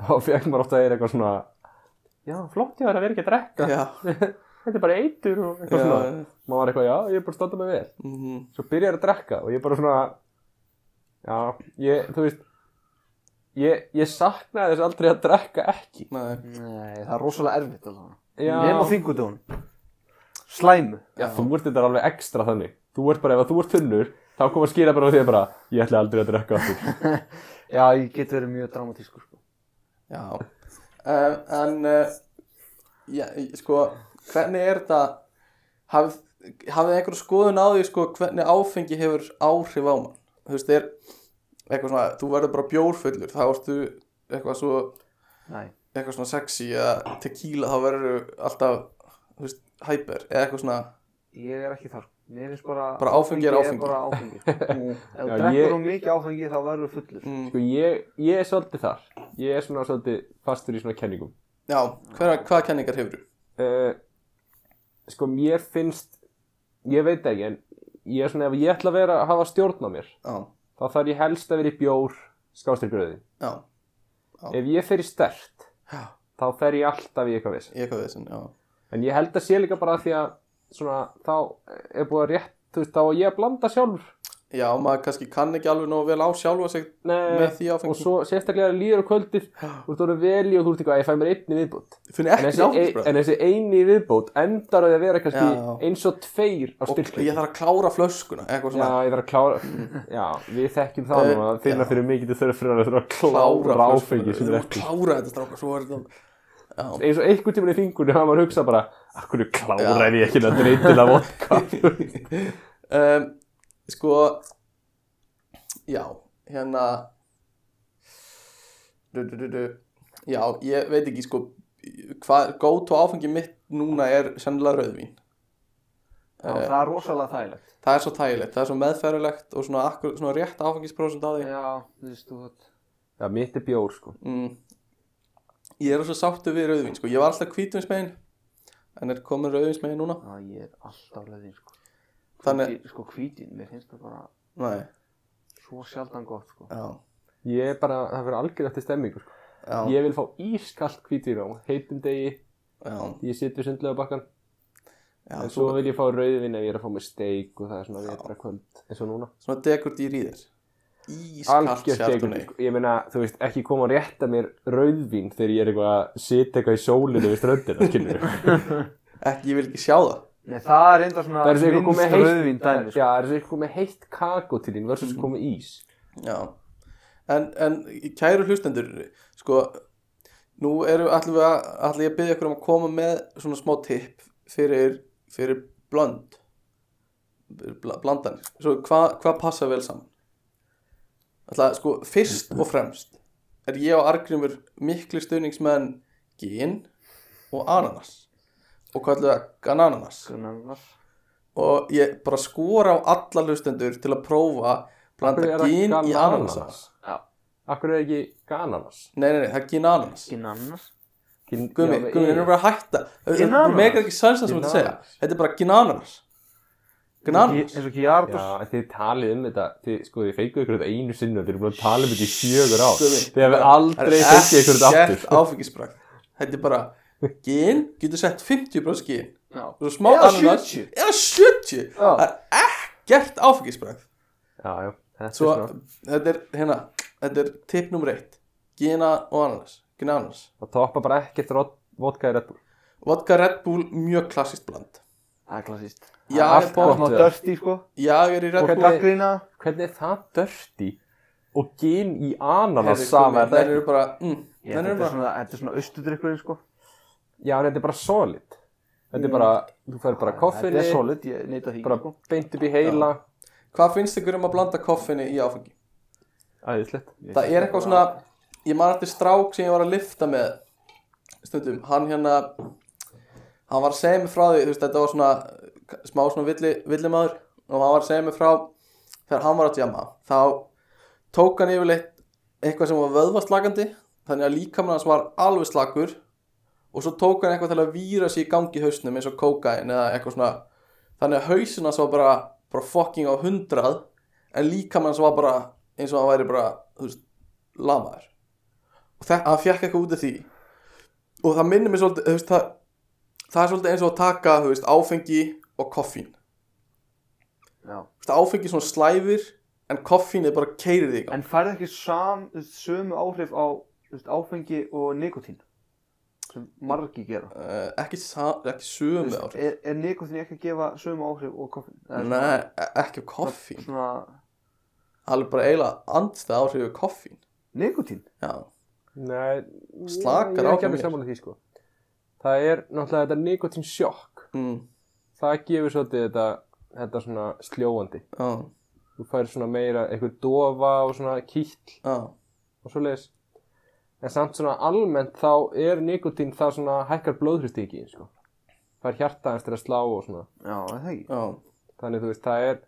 Speaker 2: Þá fekk maður ofta að er eitthvað svona Já, flott ég var að vera ekki að drekka
Speaker 1: Já,
Speaker 2: [LAUGHS] Þetta er bara eitur og eitthvað
Speaker 1: já
Speaker 2: svona Maður var eitthvað, já, ég er bara að standa mig vel
Speaker 1: mhm.
Speaker 2: Svo byrjar að drekka og ég bara svona Já, ég, þú veist Ég, ég saknaði þess aldrei að drekka ekki
Speaker 1: Nei
Speaker 4: Nei, það er rosalega erfitt alveg.
Speaker 2: Já,
Speaker 3: Nefn á þingudón. Slæmu.
Speaker 2: já, þú ert þetta alveg ekstra þannig Þú ert bara, ef þú ert þunnur Þá kom að skýra bara á því bara Ég ætla aldrei að drekka aftur
Speaker 4: Já, ég get verið mjög dramatískur sko.
Speaker 1: Já, uh, en uh, já, sko, hvernig er þetta, hafið hafið þið einhverju skoðun á því sko, hvernig áfengi hefur áhrif á mann? Þú veist, er eitthvað svona, þú verður bara bjórfullur, þá ertu eitthvað svo,
Speaker 4: Nei,
Speaker 1: eitthvað svona sexy eða tequila, þá verður alltaf, þú veist, hyper eða eitthvað svona,
Speaker 4: ég er ekki þar. Mér finnst bara...
Speaker 1: Bara áfengi er áfengi.
Speaker 4: bara
Speaker 2: [LAUGHS]
Speaker 4: áfengi. Ef
Speaker 2: Já,
Speaker 4: þú drekkur
Speaker 2: ég-
Speaker 4: um mikið áfengi þá verður fullur.
Speaker 1: mm,
Speaker 2: [LAUGHS] Sko, ég, ég er svolítið þar Ég er svona svolítið fastur í svona kenningum
Speaker 1: já, hver, hvaða kenningar hefur þú?
Speaker 2: uh, Sko, mér finnst Ég veit ekki, en Ég er svona, ef ég ætla að vera að hafa stjórn á mér
Speaker 1: Já,
Speaker 2: Þá þarf ég helst að vera í bjór Skástyrgröði
Speaker 1: já,
Speaker 2: Ef ég fer í stert
Speaker 1: Já.
Speaker 2: Þá fer ég alltaf í eitthvað viss
Speaker 1: ég eitthvað þessin, já,
Speaker 2: En ég held að sé líka bara því að Svona, þá er búið að rétt Þú veist, þá er ég að blanda sjálfur
Speaker 1: já, maður kannski kann ekki alveg nógu vel á sjálfa sig með
Speaker 2: Nei,
Speaker 1: því áfengi,
Speaker 2: og svo sérstaklega líður á kvöldið Þú ert orðið veli og þú ert eitthvað Ég fæ mér einni viðbútt
Speaker 1: finnir
Speaker 2: en
Speaker 1: ekki
Speaker 2: þessi, e-
Speaker 1: náttúrulega.
Speaker 2: en þessi eini viðbót endar á því að vera kannski
Speaker 1: Já, já.
Speaker 2: eins og tveir á
Speaker 1: og
Speaker 2: styrkleik
Speaker 1: ég þarf að klára flöskuna eitthvað
Speaker 2: Já,
Speaker 1: svona,
Speaker 2: ég þarf að klára Já, við þekkjum það
Speaker 1: Eh,
Speaker 2: nú að finna
Speaker 1: já.
Speaker 2: fyrir mikið til þörf fyrir að þurfa að
Speaker 1: klára
Speaker 2: klára áfengi sem
Speaker 1: við þurfum
Speaker 2: er
Speaker 1: að
Speaker 2: ekki
Speaker 1: klára þetta strákar svo er þetta
Speaker 2: eins og einhvern tímann í fingunni hafa maður hugsað bara Akkur
Speaker 1: Já.
Speaker 2: kláraði ég ekki
Speaker 1: [LAUGHS]
Speaker 2: að dreytilega vodka
Speaker 1: um, sko já, hérna du, du, du, du. já, ég veit ekki sko hvað, go to áfengi mitt núna er sennilega rauðvín
Speaker 4: Já, það er rosalega þægilegt.
Speaker 1: það er svo tægilegt, það er svo meðferðilegt og svona, akkur, svona rétt áfengisprósent á því
Speaker 4: Já, þú veist, þú veit.
Speaker 2: Já, mitt er bjór sko
Speaker 1: mm, ég er svo sáttu við rauðvín sko, ég var alltaf hvítuvinsmegin en er komin rauðvinsmegin núna
Speaker 4: Já, ég er alltaf leðin, sko.
Speaker 1: Þannig-
Speaker 4: Hvítin- Sko, hvítin, mér finnst það bara
Speaker 1: nei,
Speaker 4: svo sjaldan gott, sko.
Speaker 1: já
Speaker 2: Ég er bara, það fyrir algjör eftir stemmingu sko.
Speaker 1: Já,
Speaker 2: Ég vil fá ískalt hvítvin á heitum degi
Speaker 1: Já,
Speaker 2: Ég sit við sundlega bakkan
Speaker 1: já
Speaker 2: En svo
Speaker 1: svo,
Speaker 2: vil ég fá rauðvinn ef ég er að fá mér steik og það er svona vetra kvöld eins og núna
Speaker 1: svona degur dýr í þér. Ískalt
Speaker 2: Algjört steik
Speaker 1: sjartunni.
Speaker 2: Ég meina, þú veist, ekki koma að rétta mér rauðvinn þegar ég er eitthvað að sita eitthvað í sólinu við ströndina, skilur
Speaker 1: Ekki, ég vil ekki sjá það.
Speaker 4: Nei, það er enda svona
Speaker 2: Það er sér eitthvað komið
Speaker 4: minnst rauðvín
Speaker 2: heitt
Speaker 4: dæmi sko.
Speaker 2: Já, það er sér eitthvað komið heitt kakó til þín versus komið ís
Speaker 1: Já, en, en kæru hlustendur, sko, nú erum allir við að, allir ég að byggja ykkur um að koma með svona smá tipp fyrir, fyrir blönd, bl blandanir, svo hvað hva passa vel saman? Alltaf, sko, fyrst og fremst er ég og Argrimur miklu stuðningsmenn gin og ananas og hvað ætlum við að gananas?
Speaker 4: Gunnar,
Speaker 1: og ég bara skora á alla hlustendur til að prófa
Speaker 2: Akkur
Speaker 1: blanda
Speaker 2: er það
Speaker 1: gín í
Speaker 2: gananas?
Speaker 1: ananas
Speaker 4: Já,
Speaker 2: Akkur er ekki gananas
Speaker 1: nei, nei, nei, það er gín ananas
Speaker 4: Gunnar
Speaker 2: Gin-
Speaker 1: gummi,
Speaker 2: já,
Speaker 1: gummi,
Speaker 2: ég-
Speaker 1: það er bara að hætta
Speaker 4: Gin
Speaker 1: það
Speaker 4: ananas?
Speaker 1: megar ekki sens það sem
Speaker 2: Gin
Speaker 1: þú ert að segja
Speaker 2: ananas.
Speaker 1: þetta er bara gín ananas gín ananas
Speaker 4: Eins og Gjardus
Speaker 2: Já, en þið talið um þetta, þið, sko, þið feikuð ykkur þetta einu sinni og þið eru búin að tala um þetta í sjögur ár
Speaker 1: Gummi,
Speaker 2: Þið hefur
Speaker 1: það
Speaker 2: aldrei
Speaker 1: er
Speaker 2: feikið ykkur þetta
Speaker 1: ekkert
Speaker 2: aftur sko.
Speaker 1: áfengisbragð þetta er bara gín, getur sett 50% gín
Speaker 4: Já,
Speaker 1: og svo smá
Speaker 4: Eða
Speaker 1: ananas
Speaker 4: 70.
Speaker 1: eða 70
Speaker 4: Já.
Speaker 1: það er ekkert áfengisbragð
Speaker 2: Já, já, þetta
Speaker 1: svo,
Speaker 2: er svona,
Speaker 1: þetta er hérna þetta er tipp nummer 1 gín og ananas gín ananas
Speaker 2: það toppa bara ekkert rot- vodka í Red Bull
Speaker 1: Vodka Red Bull, mjög klassist bland
Speaker 4: það er klassist
Speaker 1: Já,
Speaker 2: Allt gott.
Speaker 1: ég,
Speaker 4: Smá
Speaker 2: við það.
Speaker 4: dörsti sko
Speaker 1: ég er í Red Bull
Speaker 2: Og hvernig-
Speaker 4: Gaggrína
Speaker 2: Hvernig er það dörti og gin í ananas
Speaker 1: Heyrðu,
Speaker 2: sama er
Speaker 1: Gummi,
Speaker 2: það
Speaker 1: Þær
Speaker 2: ekki?
Speaker 1: eru bara, mm,
Speaker 4: Ég,
Speaker 1: þær
Speaker 4: Þetta
Speaker 1: eru
Speaker 4: er
Speaker 1: bara
Speaker 4: svona, þetta er svona austudrykkurinn sko
Speaker 2: Já, en þetta er bara solid Þetta er bara, þú fær bara
Speaker 4: Ah, Þetta
Speaker 2: koffinni,
Speaker 4: er solid, ég neyta því
Speaker 2: bara
Speaker 4: sko
Speaker 2: beint upp í heila
Speaker 1: Hvað finnst ykkur um að blanda koffinni í áfengi?
Speaker 2: Æðislegt
Speaker 1: Það er eitthvað svona Ég man eftir strák sem ég var að lifta með Stundum, hann hérna Hann var að segja mig frá því þú veist, Þetta var svona, eh, smá svona villi, villimaður Og hann var að segja mig frá Þegar hann var að djama Þá tók hann yfirleitt eitthvað sem var vöðvaslagandi Þannig að líkamann hans var alveg slakur Og svo tók hann eitthvað til að víra sig í gangi í hausnum Eins og kókain eða eitthvað svona Þannig að hausin hans var bara, bara fucking á hundrað En líkamann hans var bara eins og hann væri bara, þú veist, lamaður og það, hann fjekk eitthvað út af því og það minnir mér svolítið þú veist, það, það er svolítið eins og að taka þú veist, áfengi og koffín Þú
Speaker 4: Já
Speaker 1: veist, áfengi er svona slæfir en koffín er bara keirið í gang
Speaker 4: En færði ekki sam, þú veist, sömu áhrif á þú veist, áfengi og nikotín sem margi gera
Speaker 1: uh, ekki, sa- ekki
Speaker 4: Þú
Speaker 1: sömu
Speaker 4: veist,
Speaker 1: áhrif
Speaker 4: er, er nikotín ekki að gefa sömu áhrif og koffin?
Speaker 1: nei, e- ekki á koffín
Speaker 4: Svona,
Speaker 1: það er bara eiginlega andstæð áhrif við koffín
Speaker 4: nikotín?
Speaker 1: já,
Speaker 2: Nei,
Speaker 1: Slakar
Speaker 2: ég er
Speaker 1: á
Speaker 2: ekki alveg
Speaker 1: mér.
Speaker 2: samanlega því sko Það er náttúrulega þetta nikotín sjokk
Speaker 1: mm,
Speaker 2: Það gefur svolítið þetta, þetta svona sljóandi
Speaker 1: já,
Speaker 2: Þú fær svona meira eitthvað dofa og svona kýll
Speaker 1: já
Speaker 2: og svo leiðis En samt svona almennt þá er nikotín þá svona hækkar blóðhristingi sko. Það er hjarta hans til að slá og svona
Speaker 4: Já, er það ekki.
Speaker 1: já,
Speaker 2: Þannig þú veist það er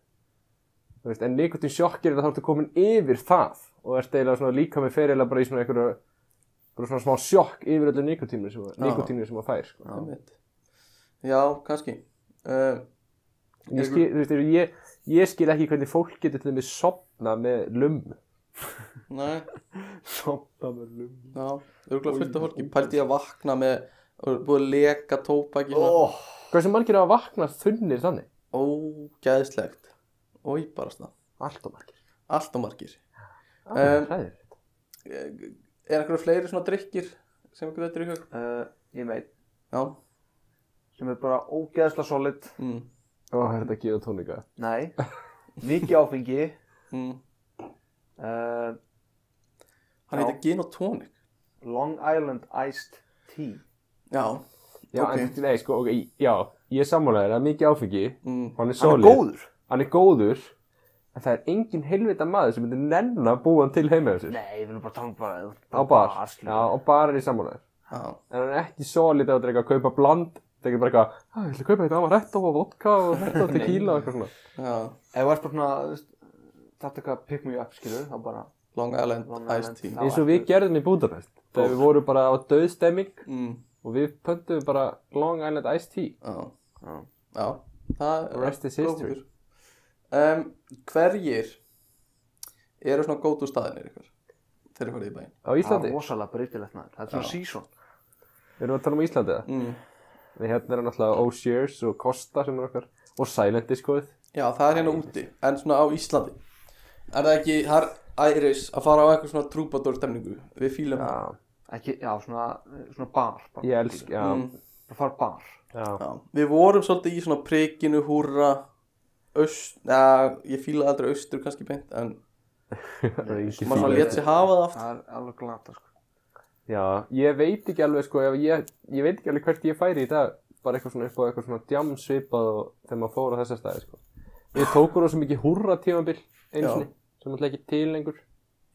Speaker 2: þú veist, En nikotín sjokkir er að þá ertu komin yfir það Og ert eiginlega svona líka með ferilega bara í svona einhverju bara svona smá sjokk yfir öllu nikotínir sem,
Speaker 1: Já.
Speaker 2: nikotínir sem að fær sko.
Speaker 1: einmitt. já kannski uh,
Speaker 2: ég skil, þú veist, ég, ég skil ekki hvernig fólk getur til þeim sopna með lummu
Speaker 1: nei
Speaker 4: Sopna með lum.
Speaker 1: Já, örgulega fullt af fólki pældi ég að vakna með og búið að leka tópakina oh.
Speaker 4: Oh,
Speaker 2: hversu margir hafa vaknað þunnir þannig
Speaker 1: ógæðslegt og ég barasta,
Speaker 2: allt og margir
Speaker 1: allt og margir
Speaker 2: um,
Speaker 1: Em, Eh, er einhverju fleiri svona drikkir sem ykkur þetta er í hug?
Speaker 4: uh, ég meit,
Speaker 1: Já,
Speaker 4: sem er bara ógeðsla solid.
Speaker 1: mm.
Speaker 2: og það er þetta að gefa tónika
Speaker 4: Nei, mikið áfengi.
Speaker 1: Mm.
Speaker 4: Uh, Já.
Speaker 1: hann heitir Gin og Tonic
Speaker 4: Long Island Iced Tea.
Speaker 1: Já,
Speaker 2: já,
Speaker 1: Ok.
Speaker 2: en, nei, sko, okay, já, ég er sammálaður það er mikið áfengi
Speaker 1: mm.
Speaker 2: hann er
Speaker 4: Hann
Speaker 2: solid
Speaker 4: er góður.
Speaker 2: hann er góður en það er engin heilvita maður sem myndir nenn að búa hann til heima hjá sér
Speaker 4: Nei, ég vil bara tala um bara.
Speaker 2: á bar, já,
Speaker 4: Já.
Speaker 2: á bar er ég sammálaður
Speaker 1: Já,
Speaker 2: en hann er ekki solid að þetta er eitthvað að kaupa bland þetta er ekki bara eitthvað, "Ah, ég ætla að kaupa þetta amaretto og vodka og þetta og tequila og eitthvað svona
Speaker 1: já,
Speaker 4: Ef þú ert bara svona, þú veist, þetta er eitthvað pick me up, skilur, þá bara,
Speaker 1: Long Island
Speaker 4: Long
Speaker 1: Iced
Speaker 4: Island.
Speaker 1: Tea
Speaker 4: Já.
Speaker 2: eins og við gerðum í Budapest þegar við vorum bara á döðstemming
Speaker 1: mm.
Speaker 2: og við pöntum bara Long Island Iced Tea
Speaker 1: Já,
Speaker 4: já.
Speaker 1: já Það er
Speaker 2: Rest is history.
Speaker 1: góður. Em, Hverjir eru svona gótu staðinir ykkur þegar ykkur í bæinn?
Speaker 2: á
Speaker 4: Það er
Speaker 2: Íslandi
Speaker 4: rosalega breytilegt maður, það er svona
Speaker 1: Já.
Speaker 4: season
Speaker 2: Erum við að tala um Íslandi eða?
Speaker 1: Mm.
Speaker 2: Nei, hérna er náttúrulega O'Shears og Costa sem er okkar og Silent Discoið.
Speaker 1: Já, það er hérna úti, en svona á Íslandi Er það ekki, það er æris að fara á eitthvað svona trúbadur stemningu Við fílum það
Speaker 2: Já,
Speaker 4: Ekki, já, svona, svona bar bara.
Speaker 2: ég elsk, já,
Speaker 1: Mm.
Speaker 4: Bara fara bar
Speaker 2: já,
Speaker 1: Já, Við vorum svolítið í svona prikinu, húrra Öst, neða, ég fíla aldrei austur kannski beint En
Speaker 2: það er ekki
Speaker 1: maður svona
Speaker 2: fíl.
Speaker 1: létt sig hafa það aftur
Speaker 4: Það er alveg glata sko
Speaker 2: Já, ég veit ekki alveg sko, ef ég, ég veit ekki alveg hvert ég færi í dag, bara eitthvað svona upp á eitthvað svona djam svipað og þegar maður fór á þessa staði sko. Ég tókur rosa mikið hurra tímambil einu
Speaker 1: Já.
Speaker 2: sinni, sem alltaf ekki til lengur.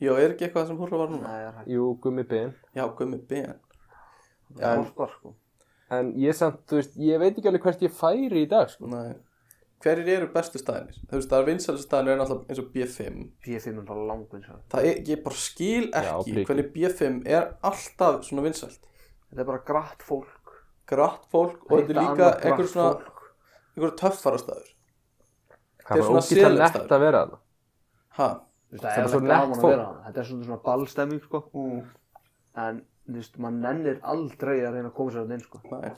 Speaker 1: Já, er ekki eitthvað sem húrra var núna?
Speaker 4: Það er hægt
Speaker 2: Jú, gummi ben.
Speaker 1: Já, gummi ben Já, en-
Speaker 4: Hálfbar sko
Speaker 2: En ég samt, þú veist, ég veit ekki alveg hvert ég færi í dag sko.
Speaker 1: Nei. Hverjir eru bestu staðinir? Þú veist, það er vinsælustu staðinir er náttúrulega eins og B5
Speaker 4: P5 er bara langvinn svo
Speaker 1: Það er, ég bara skil ekki
Speaker 2: prikið.
Speaker 1: hvernig B5 er alltaf svona vinsælt
Speaker 4: Þetta er bara grætt fólk
Speaker 1: Gratt fólk og þetta er
Speaker 4: Hitta
Speaker 1: líka
Speaker 4: annað grátt
Speaker 1: einhver svona
Speaker 4: fólk.
Speaker 1: einhver töffara staður
Speaker 2: Það
Speaker 1: er
Speaker 2: var
Speaker 1: svona
Speaker 2: ógíslega
Speaker 1: selestaður.
Speaker 2: lett að vera þarna.
Speaker 1: ha,
Speaker 4: Þú veist, Það
Speaker 2: er
Speaker 4: er
Speaker 2: svo
Speaker 4: alveg
Speaker 2: nett
Speaker 4: gaman að
Speaker 2: fólk.
Speaker 4: vera þarna. Þetta er svona svona ballstemming sko
Speaker 1: mm.
Speaker 4: En þú veist, maður nennir aldrei að reyna að koma sér að inn sko
Speaker 1: nei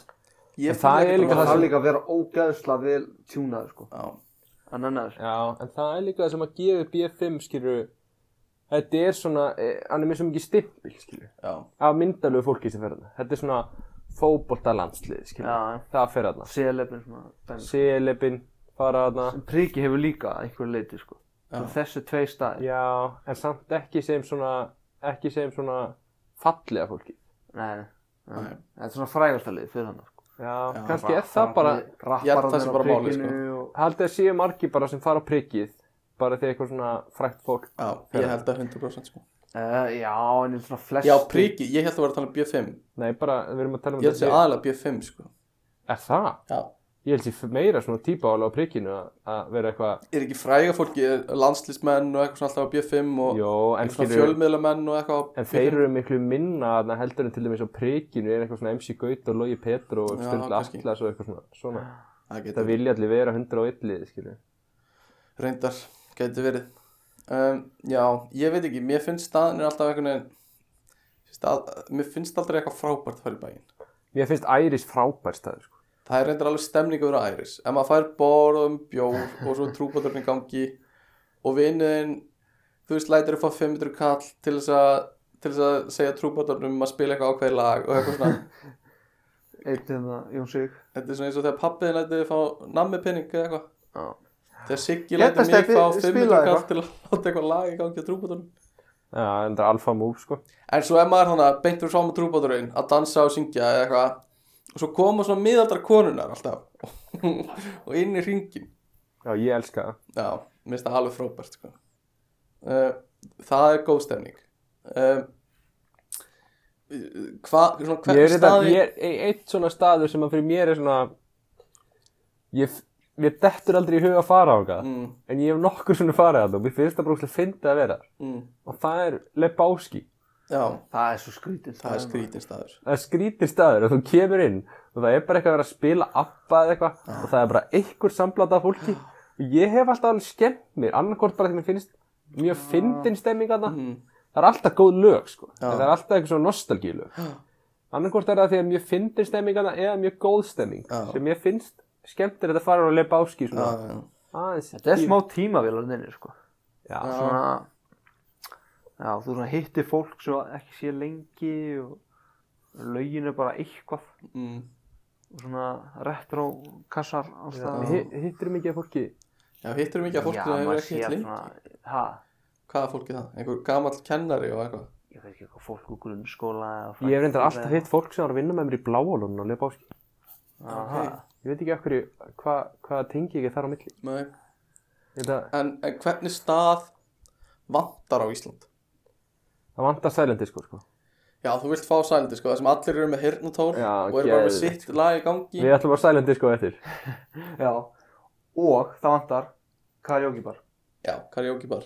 Speaker 2: En
Speaker 1: ég
Speaker 2: það
Speaker 1: fíla
Speaker 2: er
Speaker 1: ekki
Speaker 2: líka
Speaker 4: Það
Speaker 1: bara-
Speaker 2: það
Speaker 4: þarf
Speaker 2: sem-
Speaker 4: líka að vera ógæðsla vel tjúnaður sko
Speaker 1: Já,
Speaker 4: Að nenni þessu
Speaker 2: Já, en það er líka það sem að gefa B5 skilju, þetta er svona, eh, hann er mér svo mikið stimpil skilju.
Speaker 1: já,
Speaker 2: af myndalögu fólki sem fer þarna. Þetta er svona fókbólta landslið, skiljum.
Speaker 4: Já, já.
Speaker 2: Það fer þarna.
Speaker 4: Selefin svona dæmi.
Speaker 2: Selebin fara þarna.
Speaker 4: En Priki hefur líka að einhverju leiti sko
Speaker 1: Já.
Speaker 4: Þessu tvei staðir
Speaker 2: Já, en samt ekki sem svona, ekki sem svona fallega fólki.
Speaker 4: Nei, nei.
Speaker 1: Nei.
Speaker 4: Þetta er svona frægastalið fyrir hann sko.
Speaker 2: Já,
Speaker 1: Já,
Speaker 2: kannski er það bara,
Speaker 1: Ég held það sé bara málið, sko.
Speaker 4: og...
Speaker 2: haldið að séu margir bara sem fara á prikkið, bara því eitthvað svona frækt fólk.
Speaker 1: já, ég held að 100% sko.
Speaker 4: uh, Já, en ég er svona flest
Speaker 1: já, priki, ég held að vera að tala um B5
Speaker 2: Nei, bara, við erum að tala um
Speaker 1: ég held að sé
Speaker 2: lið.
Speaker 1: aðalega B5 sko.
Speaker 2: Er það?
Speaker 1: já.
Speaker 2: Ég held sér meira svona típa álega á prikkinu að- að vera eitthvað,
Speaker 1: er ekki fræga fólki, er landslismenn og eitthvað svona alltaf á B5 og
Speaker 2: jó, en
Speaker 1: eitthvað svona
Speaker 2: skilju,
Speaker 1: fjölmiðlamenn og eitthvað á
Speaker 2: En
Speaker 1: B5.
Speaker 2: þeir eru miklu minna þarna heldur en til dæmis á prikinu er eitthvað svona MC Gaut og Logi Petru og
Speaker 1: Já,
Speaker 2: Sturla
Speaker 1: kannski.
Speaker 2: Atlas og eitthvað svona. svona.
Speaker 1: það
Speaker 2: Þetta
Speaker 1: getur
Speaker 2: vilja allir vera 101 liði, skilju.
Speaker 1: Reyndar, gæti verið um, Já, ég veit ekki, mér finnst staðan er alltaf einhvern veginn stað, Mér finnst aldrei eitthvað frábært að fara í bæinn
Speaker 2: Mér finnst Æris frábær staður, sko.
Speaker 1: Það er reyndar alveg stemning að vera æris En maður fær borð og um bjór og svo trúbáturinn í gangi Og vinnuðinn, þú veist, lætur upp á 500 kall til þess að til þess að segja trúbáturnum að spila eitthvað ákveðið lag og eitthvað svona
Speaker 4: Eitt en um það, Jón Sig
Speaker 1: Þetta er svona eins og þegar pappiðin lætið fá nammi penning eða eitthvað
Speaker 2: Já.
Speaker 1: Þegar Siggi
Speaker 4: Hérna,
Speaker 1: lætið mig
Speaker 4: Stebbi,
Speaker 1: fá
Speaker 4: spilaðu
Speaker 1: 500 kall til að láta eitthvað lag í gangi á trúbáturnum
Speaker 2: Já, en það er alfa múf, sko.
Speaker 1: En svo ef maður þannig beintur svo á með trúbáturinn að dansa og syngja eða eitthvað og svo koma svona miðaldra konunar alltaf [LAUGHS] og inn í ringin
Speaker 2: Já, ég elska það.
Speaker 1: Já, mér finnst það alveg frábært sko. uh, Það er góð stemning uh, Hvað, svona
Speaker 2: Ég er
Speaker 1: hvernig
Speaker 2: þetta,
Speaker 1: staði
Speaker 2: ég er e- eitt svona staður sem að fyrir mér er svona, ég, f- mér dettur aldrei í huga að fara á það.
Speaker 1: mm,
Speaker 2: En ég hef nokkur svona farið að það og mér finnst það bara úrslega fyndið að vera. þar.
Speaker 1: mm,
Speaker 2: Og það er Lebowski.
Speaker 1: Já,
Speaker 4: Það er svo skrítið
Speaker 1: það er skrítin staður
Speaker 2: það er skrítir staður og þú kemur inn og það er bara eitthvað að vera að spila appa eða eitthvað og það er bara einhver samblanda af fólki og ég hef alltaf alveg skemmt mér annarkort bara þegar mér finnst mjög fyndin stemming að
Speaker 1: mm,
Speaker 2: það er alltaf góð lög sko
Speaker 1: Já.
Speaker 2: en það er alltaf eitthvað svona nostalgílög annarkort er það þegar mjög fyndin stemming að eða mjög góð stemming
Speaker 1: Já.
Speaker 2: sem ég finnst skemmt er þetta fara og lepa áski svona
Speaker 1: já, já.
Speaker 2: aðeins
Speaker 4: Þetta er smá tímavél á þenni sko.
Speaker 2: Já.
Speaker 1: Ah,
Speaker 4: Svona Já, þú svona hittir fólk svo ekki sé lengi og lögin er bara eitthvað
Speaker 1: Mm.
Speaker 4: og svona retro kassar alls það
Speaker 2: Hi- hittir mikið af fólki
Speaker 1: Já, hittur mikið að fólk sem hefur ekki hitt lengi
Speaker 4: ha,
Speaker 1: Hvaða fólki það? Einhver gamall kennari og eitthvað
Speaker 4: ég veit ekki hvað fólk úr grunnskóla eða
Speaker 2: ég hef reyndar
Speaker 4: frændskóla
Speaker 2: alltaf
Speaker 4: eða-
Speaker 2: hitt fólk sem var að vinna með mér í bláalunum á lepa
Speaker 4: Aha.
Speaker 2: ég veit ekki af hverju hvað hva tengi ég þar á milli
Speaker 1: Nei.
Speaker 2: þetta,
Speaker 1: en, en hvernig stað vantar á Ísland?
Speaker 2: Það vantar sælendi sko, sko.
Speaker 1: Já, þú vilt fá sælindi, sko, það sem allir eru með hirnatól
Speaker 2: Já,
Speaker 1: og eru bara með
Speaker 2: geðveikt,
Speaker 1: sitt lag í gangi
Speaker 2: Við ætlum að sælendi sko eftir.
Speaker 4: Já, og það vantar karaoke bar
Speaker 1: Já, karaoke bar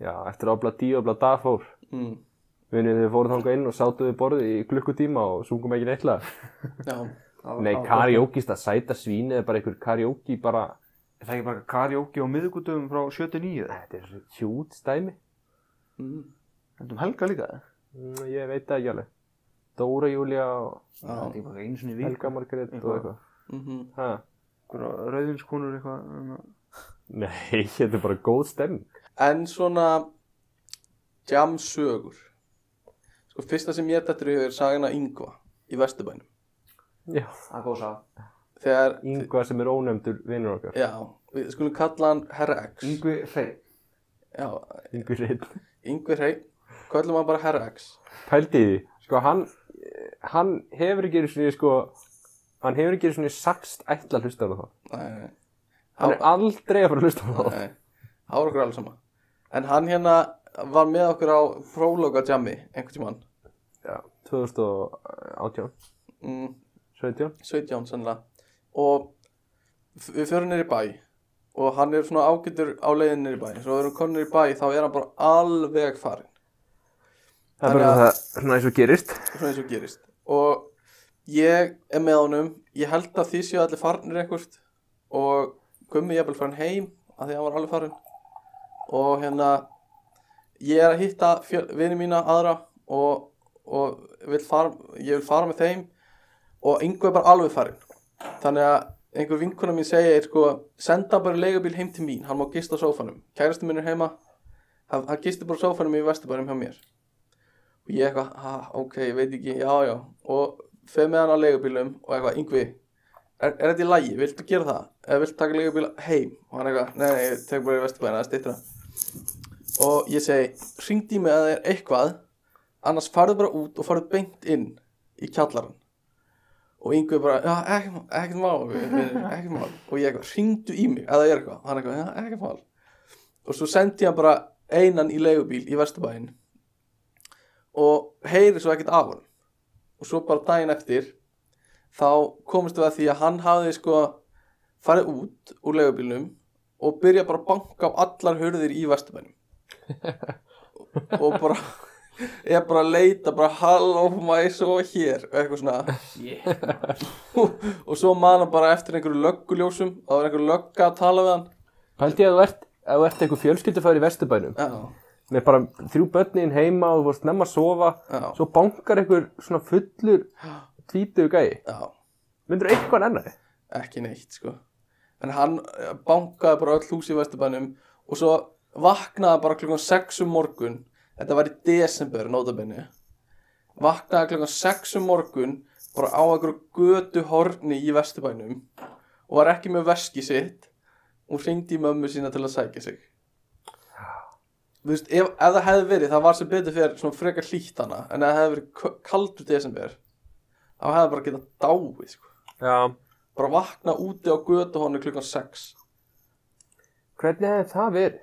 Speaker 2: Já, eftir að obla dí og obla dag fór.
Speaker 1: mm.
Speaker 2: Vinni við fórum þangað inn og sátum við borðið í klukkutíma og sungum ekki neitt lag.
Speaker 1: Já,
Speaker 2: Nei, kariókist að sæta svín eða bara einhver karióki bara,
Speaker 4: Er það ekki bara karaoke á miðugutum frá 79?
Speaker 2: þetta er hjút stæmi.
Speaker 1: mm.
Speaker 4: Þetta um helga líka
Speaker 2: Mm, Ég veit það ekki alveg. Dóra Júlia og
Speaker 4: Það er bara einu sinni í viku.
Speaker 2: Helga Margrét og
Speaker 4: Eitthvað.
Speaker 2: eitthvað.
Speaker 1: Mhm.
Speaker 2: Ha?
Speaker 4: Einhverja Rauðinskonur eitthvað. þannig að-
Speaker 2: Nei, [LAUGHS] þetta er bara góð stemming.
Speaker 1: En svona jamsögur Sko fyrsta sem ég dættur í hug er sagana Yngva í Vesturbænum
Speaker 2: Já.
Speaker 3: Það er góð sá.
Speaker 1: Þegar,
Speaker 2: Yngva sem er ónefndur vinnur okkar.
Speaker 1: já, við skulum kalla hann Herra X
Speaker 3: Yngvi Hreinn.
Speaker 1: Já,
Speaker 2: Yngvi Rinn.
Speaker 1: Yngvi Hrey, kallum hann bara Herra X
Speaker 2: Pældi í því, sko hann, hann hefur ekki einu sinni, sko, hann hefur ekki einu sinni sagst ætla að hlusta á það.
Speaker 1: Nei, nei,
Speaker 2: Hann er aldrei að fara að hlusta á það.
Speaker 1: nei, það var okkur alveg sama En hann hérna var með okkur á próloga jammi einhvern tímann
Speaker 2: Já, 2018,
Speaker 1: mm,
Speaker 2: 17.
Speaker 1: 17 sannlega og f- við förum niður í bæ og hann er svona ágætur á leiðin niður í bæ svo erum konur í bæ þá er hann bara alveg farinn
Speaker 2: Það
Speaker 1: er bara
Speaker 2: það, svona eins og gerist.
Speaker 1: svona eins og gerist og ég er með honum ég held að því séu allir farnir eitthvað og gummi ég er bara farin heim af því að hann var alveg farinn og hérna ég er að hitta vinni mína aðra og, og vil fara, ég vil fara með þeim og einhver er bara alveg farinn þannig að einhver vinkona mín segir sko, senda bara leigubíl heim til mín hann má gista á sófanum, kærastu minn er heima hann, hann gisti bara á sófanum í vesturbærum hjá mér og ég eitthvað, ha, ok, ég veit ekki, já, já og feð með hann á leigubílum og eitthvað, yngvi, er, er þetta í lagi, viltu gera það? eða viltu taka leigubíl heim? og hann eitthvað, nei, nei, ég tek bara í vesturbæðina, það stýttir það og ég segi, ringd í mig að það er eitthvað annars farðu bara út og farðu beint inn í kjallaran og yngvi bara, já, ekkert mál, ekkert mál vinur, ekkert mál, og ég eitthvað, ringdu í mig að það er eitthvað, og hann eitthvað, já, ekkert mál og svo sendi ég hann bara einan í leigubíl í vesturbæðin og heyri svo ekkert af hann og svo bara daginn eftir þá komist við að því að hann hafði sko farið út úr legubílnum og byrja bara að banka á allar hurðir í vesturbænum og bara ég bara að leita bara halló maður svo hér og eitthvað svona [LAUGHS] og svo man hann bara eftir einhverju lögguljósum og það var einhverju lögga að tala við hann
Speaker 2: Pældi ég að þú ert, að þú ert einhver fjölskyldufæður í Vesturbænum,
Speaker 1: já,
Speaker 2: með bara þrjú börnin heima og þú vorst nefn að sofa,
Speaker 1: Já.
Speaker 2: svo bankar einhver svona fullur tvítugu gæi.
Speaker 1: já,
Speaker 2: Myndur eitthvað nennar þið?
Speaker 1: ekki neitt sko en hann eh, bankaði bara öll hús í Vesturbænum og svo vaknaði bara klukkan 6 um morgun þetta var í desember nótabenni vaknaði klukkan 6 um morgun bara á einhverju götu horni í Vesturbænum og var ekki með veski sitt og hringdi í mömmu sína til að sækja sig þú veist, ef, ef það hefði verið það var sem betur fyrir svona frekar hlýtt hana en ef það hefði verið k- kaldur desember þá hefði bara getað dáið sko
Speaker 2: Já.
Speaker 1: bara vakna úti á götu honu klukkan 6
Speaker 2: Hvernig hefði það verið?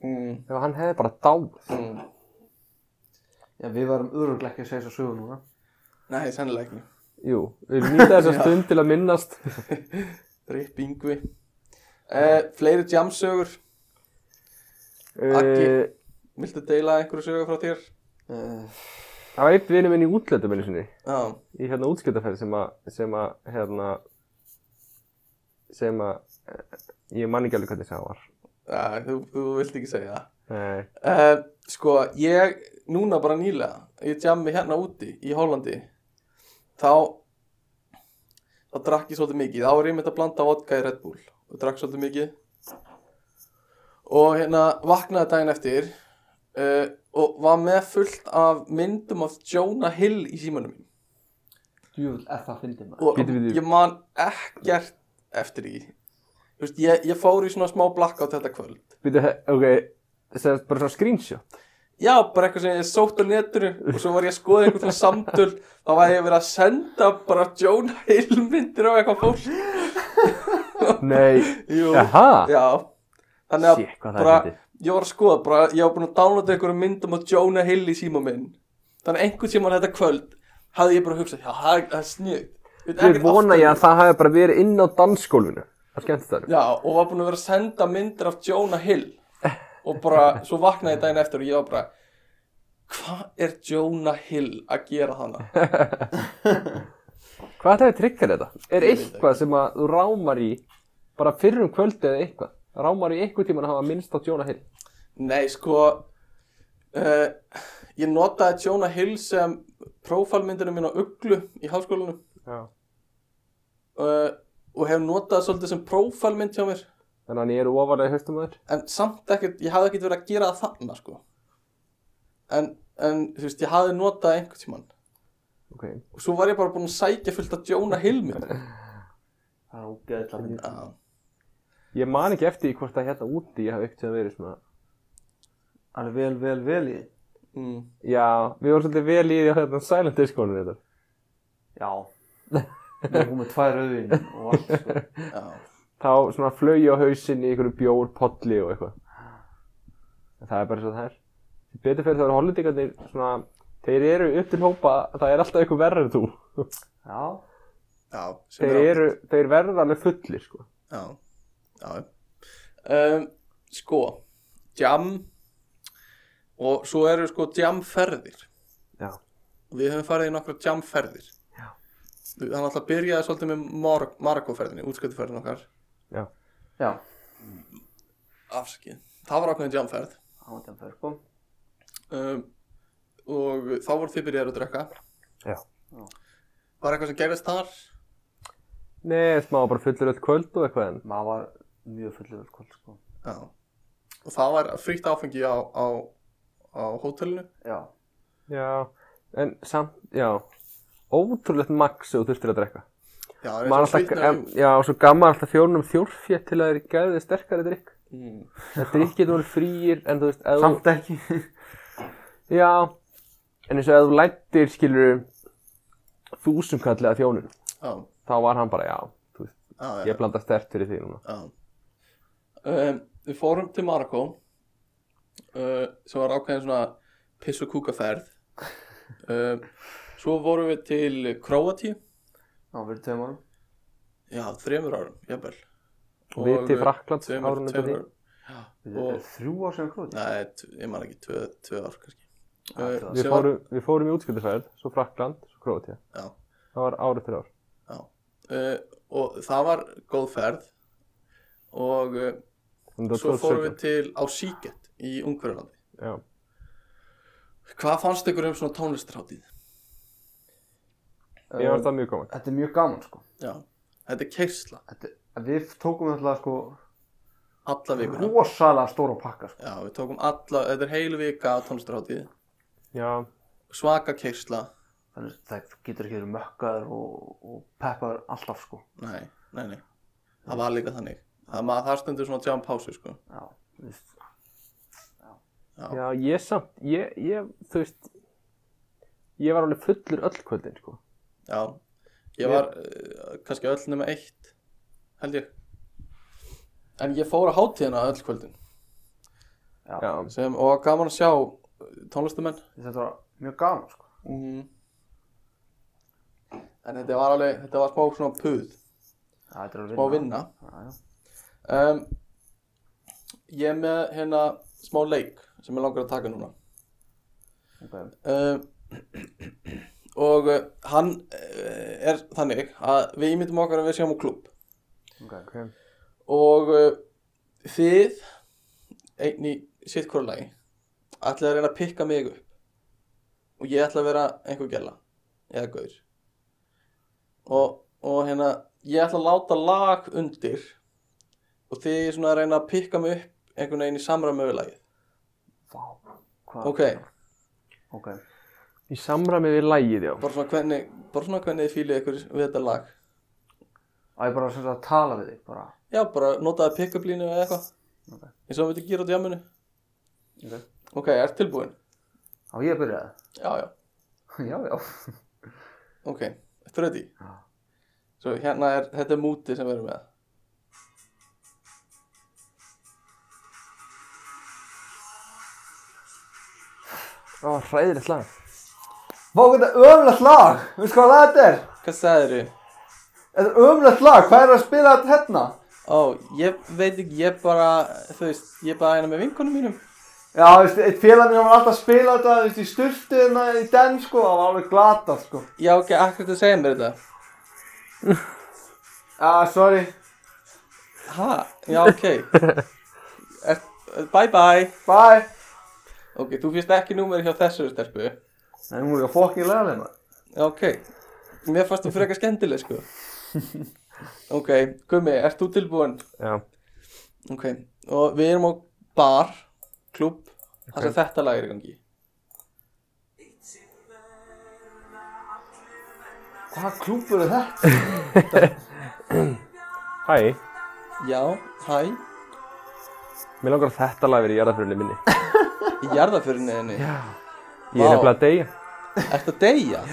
Speaker 1: mm.
Speaker 2: Ef hann hefði bara dáð.
Speaker 1: Mm.
Speaker 3: Já, við varum öruglega ekki að segja þess að sögu núna.
Speaker 1: nei, sennilega ekki
Speaker 2: Jú, við nýta þessa stund til að minnast.
Speaker 1: Ripp Yngvi eh, fleiri jamsögur Aggi.
Speaker 2: Uh,
Speaker 1: viltu deila einhverju sögur frá þér?
Speaker 3: Uh,
Speaker 2: það var einn vinnu minn í útlöndum einu sinni,
Speaker 1: já,
Speaker 2: í hérna útskjötaferð sem að, sem að, hérna, sem að, eh, ég man ekki alveg hvernig sem það var.
Speaker 1: já þú, þú vilt ekki segja
Speaker 2: Nei,
Speaker 1: það eh, sko, ég núna bara nýlega, ég jammi hérna úti í Hollandi þá þá drakk ég svolítið mikið þá er ég mitt að blanda vodka í Red Bull og drakk svolítið mikið og hérna vaknaði daginn eftir uh, og var með fullt af myndum af Jonah Hill í símanum minn
Speaker 3: Djúvill, er það fyndið maður.
Speaker 1: og
Speaker 2: Bíddu, bíddu.
Speaker 1: ég man ekkert eftir því Þú veist, ég, ég fór í svona smá blackout þetta kvöld
Speaker 2: býtu, ok, sem sagt bara svona
Speaker 1: [LAUGHS]
Speaker 2: screenshot.
Speaker 1: Já, bara eitthvað sem ég sótt á netinu og svo var ég að skoða einhvern svona samtöl þá var ég verið að senda bara Jonah Hill myndir á eitthvað fólk
Speaker 2: Nei,
Speaker 1: Jú,
Speaker 2: Jaha.
Speaker 1: já Þannig að
Speaker 2: Shit, hvað það er
Speaker 1: bara,
Speaker 2: fyndið.
Speaker 1: ég var að skoða bara, ég var búin að downloada einhverjum myndum á Jonah Hill í síma minn Þannig að einhvern tímann þetta kvöld hafði ég bara hugsað, já, það er- það er snið
Speaker 2: ég vona ég að það hefði bara verið inn á dansskólfinu. Það skemmtist það.
Speaker 1: Já, og var búin að vera að senda myndir af Jonah Hill og bara, svo vaknaði ég daginn eftir og ég var bara hvað er Jonah Hill að gera þannig?
Speaker 2: Hvað þetta hefur tryggjað þetta? Er
Speaker 1: Ég veit
Speaker 2: eitthvað sem að þú rámar í, bara fyrir um kvöldu eða eitthvað, rámar í eitthvað tíman að hafa minnst á Jonah Hill?
Speaker 1: Nei, sko uh, sko, Ég notaði Jonah Hill sem prófálmyndinu mín á Uglu í háskólanum
Speaker 2: Já.
Speaker 1: uh, og hef notað svolítið sem prófálmynd hjá mér
Speaker 2: Þannig að ég er ofarlega í höstum að þér.
Speaker 1: en samt ekkert, ég hafði ekkert verið að gera það þarna sko en, en þú veist, ég hafði notað einhvern tímann
Speaker 2: Ok.
Speaker 1: og svo var ég bara búin að sækja fullt að Jonah Hill mynd
Speaker 2: [LAUGHS]
Speaker 4: Það er ógeðislega fyrir.
Speaker 1: Já,
Speaker 2: Ég man ekki eftir því hvort það hérna úti ég hafi ekkert að verið svona.
Speaker 4: Alveg vel, vel, vel í. því.
Speaker 1: mm.
Speaker 2: Já, við vorum svolítið vel í því að hérna Silent Disconu þetta.
Speaker 4: Já. Við erum með tvær rauðin og allt sko.
Speaker 1: já,
Speaker 2: Þá svona flög ég á hausinn í einhverju bjór, podli og eitthvað. En það er bara svo það er. Sem Betur fyrir það eru hollendingarnir svona, þeir eru upp til hópa, það er alltaf eitthvað verður þú.
Speaker 4: Já.
Speaker 1: já sem
Speaker 2: Þeir
Speaker 1: er
Speaker 2: eru, þeir verða alveg fullir sko.
Speaker 1: Já, já um, Sko Jam og svo eru sko jamferðir
Speaker 2: Já.
Speaker 1: Við höfum farið í nokkra jamferðir
Speaker 2: Já.
Speaker 1: Þannig að alltaf byrjaði svolítið með Mar Marakóferðinni, útskölduferðin okkar
Speaker 4: Já.
Speaker 1: Afsakið, það var ákveðin jamferð
Speaker 4: Átján fyrir sko.
Speaker 1: um, og þá voru þið byrjaðir að drekka
Speaker 2: Já.
Speaker 4: Já.
Speaker 1: Var eitthvað sem gerðist þar?
Speaker 2: Nei, smá bara fullir öll kvöld og eitthvað en
Speaker 4: Maður var mjög fullið öll kvöld sko.
Speaker 1: Já Og það var frítt áfengi á, á, á hótelinu
Speaker 4: Já.
Speaker 2: Já, en samt, já Ótrúlegt magg sem þú þurftir að drekka
Speaker 1: Já, það er eins
Speaker 2: Maður
Speaker 1: og
Speaker 2: alltaf,
Speaker 1: skrýtnar-
Speaker 2: em, Já, svo gaman alltaf fjórnum þjórfjett til að þeir gæði sterkari drikk
Speaker 1: Mm.
Speaker 2: Það drikk getur verið frýir en þú veist ef þú-
Speaker 4: Samt ekki.
Speaker 2: Já, en eins og ef þú lættir skilur þúsumkallið að þjónun
Speaker 1: Já,
Speaker 2: þá var hann bara, já, þú veist,
Speaker 1: já, já
Speaker 2: ég blanda stert fyrir því núna
Speaker 1: Já. Um, við fórum til Marokko uh, sem var ákveðin svona piss og kúkaferð um, svo vorum við til Króati
Speaker 4: Já, fyrir tveim árum.
Speaker 1: já, þremur árum, jafnvel
Speaker 2: Og við til Frakklands
Speaker 1: tveimur,
Speaker 2: árunum
Speaker 1: tveimur
Speaker 2: til
Speaker 1: árum
Speaker 4: Við
Speaker 1: Og-
Speaker 4: erum þrjú ár sem króti.
Speaker 1: nei, t- ég man ekki, tvö, tvö ár kannski
Speaker 4: Já,
Speaker 1: Eh,
Speaker 4: tvö ár.
Speaker 2: Ah, Við
Speaker 1: sem
Speaker 2: fórum, við fórum í útskjöldafæð, svo Frakland, svo Króatía
Speaker 1: Já.
Speaker 2: Það var árið fyrir ár
Speaker 1: var, uh, og það var góð ferð og uh,
Speaker 2: Þannig að
Speaker 1: svo
Speaker 2: það var
Speaker 1: fórum við
Speaker 2: 2017.
Speaker 1: til á Sýkett í Ungverjalandi
Speaker 2: Já.
Speaker 1: hvað fannst ykkur um svona tónlistarhátíð?
Speaker 2: Ég var það mjög gaman
Speaker 4: Ehm, Þetta er mjög gaman sko.
Speaker 1: Já, þetta er keisla
Speaker 4: Þetta, við tókum alltaf sko
Speaker 1: alla vikuna
Speaker 4: rosalega stóra pakka sko.
Speaker 1: Já, við tókum alla, þetta er heil vika á tónlistarhátíð,
Speaker 2: Já,
Speaker 1: svaka keirsla,
Speaker 4: Þannig að það getur ekki verið mökkaður og, og peppaður alltaf sko.
Speaker 1: nei, nei, nei, það var líka þannig, það, maður, það stundur svona tjáum pásu, sko,
Speaker 4: Já, þú veist.
Speaker 1: já,
Speaker 2: Já, ég samt, ég, ég, þú veist, ég var alveg fullur öll kvöldin, sko.
Speaker 1: já, ég var uh, kannski öll nema eitt, held ég, en ég fór á hátíðina öll kvöldin,
Speaker 4: Já.
Speaker 2: Já,
Speaker 1: sem, og gaman að sjá eh, tónlistamenn,
Speaker 4: Þetta var mjög gaman sko.
Speaker 1: mm. en þetta var alveg, þetta var smá svona puð,
Speaker 4: Já, þetta er alveg
Speaker 1: smá vinna,
Speaker 4: Já, já.
Speaker 1: um, ég er með hérna smá leik sem ég langar að taka núna.
Speaker 4: Okay.
Speaker 1: uh, [CLEARS THROAT] og uh, hann uh, er þannig að við ímyndum okkar að við séum á klubb
Speaker 4: ok.
Speaker 1: og uh, þið einn í sitt hverju lagi ætlaði að reyna að pikka mig upp og ég ætla að vera einhver gæla eða gaur og, og hérna ég ætla að láta lag undir og þið svona að reyna að pikka mig upp einhvern veginn í samræmi við lagið
Speaker 4: Vá. Hvað?
Speaker 1: ok,
Speaker 4: Ok.
Speaker 2: í samræmi við lægið, já.
Speaker 1: bara svona hvernig bara svona hvernig þið fílið ykkur við þetta lag
Speaker 4: Á ég bara sem sagt að tala við þig bara.
Speaker 1: Já, bara notaði pick-up línu eða eitthvað
Speaker 4: Ok.
Speaker 1: eins og við þetta gera á djáminu
Speaker 4: Ok.
Speaker 1: Ok, er tilbúin?
Speaker 4: Á ég að byrja það? [LAUGHS]
Speaker 1: Já, já,
Speaker 4: já, já.
Speaker 1: ok, eftir þetta
Speaker 4: Já.
Speaker 1: Svo hérna er, þetta er múti sem við erum með
Speaker 2: Það var hræðilegt lag.
Speaker 4: Vá, þetta er ömlegt lag. Veistu hvað lag þetta er?
Speaker 1: Hvað sagðir þið?
Speaker 4: Þetta er ömlegt lag. Hvað er að spila þetta hérna?
Speaker 1: Ó, ég veit ekki, ég bara, þú veist, ég bara hérna með vinkonum mínum
Speaker 4: Já, veist, eitt félag minn var alltaf að spila þetta, veist, í sturtu hérna í den, sko, það var alveg glata, sko.
Speaker 1: Já, ok, akkurat að segja mér þetta
Speaker 4: Já, sorry,
Speaker 1: Ha, já, ok er, Bye bye
Speaker 4: bye.
Speaker 1: Ok, þú finnst ekki númerið hjá þessu stelpu
Speaker 4: En hún er að fokkin laga þeim
Speaker 1: Ok, mér fannst þú frekar skemmtileg sko Ok, Gummi, ert þú tilbúin?
Speaker 2: Já.
Speaker 1: Ok, og við erum á bar, klubb, þar sem þetta lag er í gangi
Speaker 4: Hvað klúpur er þetta?
Speaker 2: Hæ,
Speaker 1: Já, hæ,
Speaker 2: mér langar að þetta lag verið í jarðafrunni minni.
Speaker 1: í jarðaförinni henni
Speaker 2: Ég er
Speaker 1: Vá.
Speaker 2: nefnilega að deyja
Speaker 1: Ertu að deyja?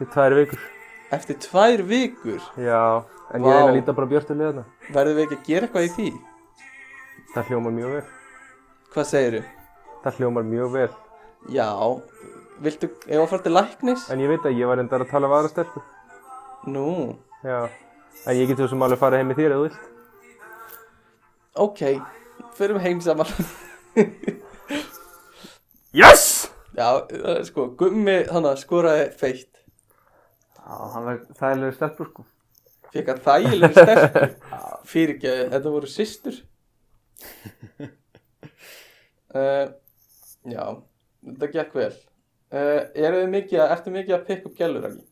Speaker 2: til tvær vikur.
Speaker 1: Eftir tvær vikur
Speaker 2: Já, en
Speaker 1: Vá.
Speaker 2: ég er eiginlega að líta bara björtu liðna.
Speaker 1: verðum við ekki að gera eitthvað í því?
Speaker 2: Það hljómar mjög vel.
Speaker 1: Hvað segirðu?
Speaker 2: Það hljómar mjög vel.
Speaker 1: Já, viltu, ef að fara til læknis?
Speaker 2: En ég veit að ég var endar að tala af aðra stelpu.
Speaker 1: Nú,
Speaker 2: Já. En ég get svo sem alveg farið heim með þér eða þú vilt.
Speaker 1: ok, förum heim saman [LAUGHS]
Speaker 2: Yes!
Speaker 1: Já, eh, sko, gummi þannig skoraði feitt
Speaker 4: Já, hann verður þægilega stelpur sko
Speaker 1: Fekk að þægilega sterkur
Speaker 2: [LAUGHS]
Speaker 1: Fyrir ekki, þetta voru systur uh, Já, þetta gekk vel uh, Eru þið mikið að, ertu mikið að pikk upp gælur ekki?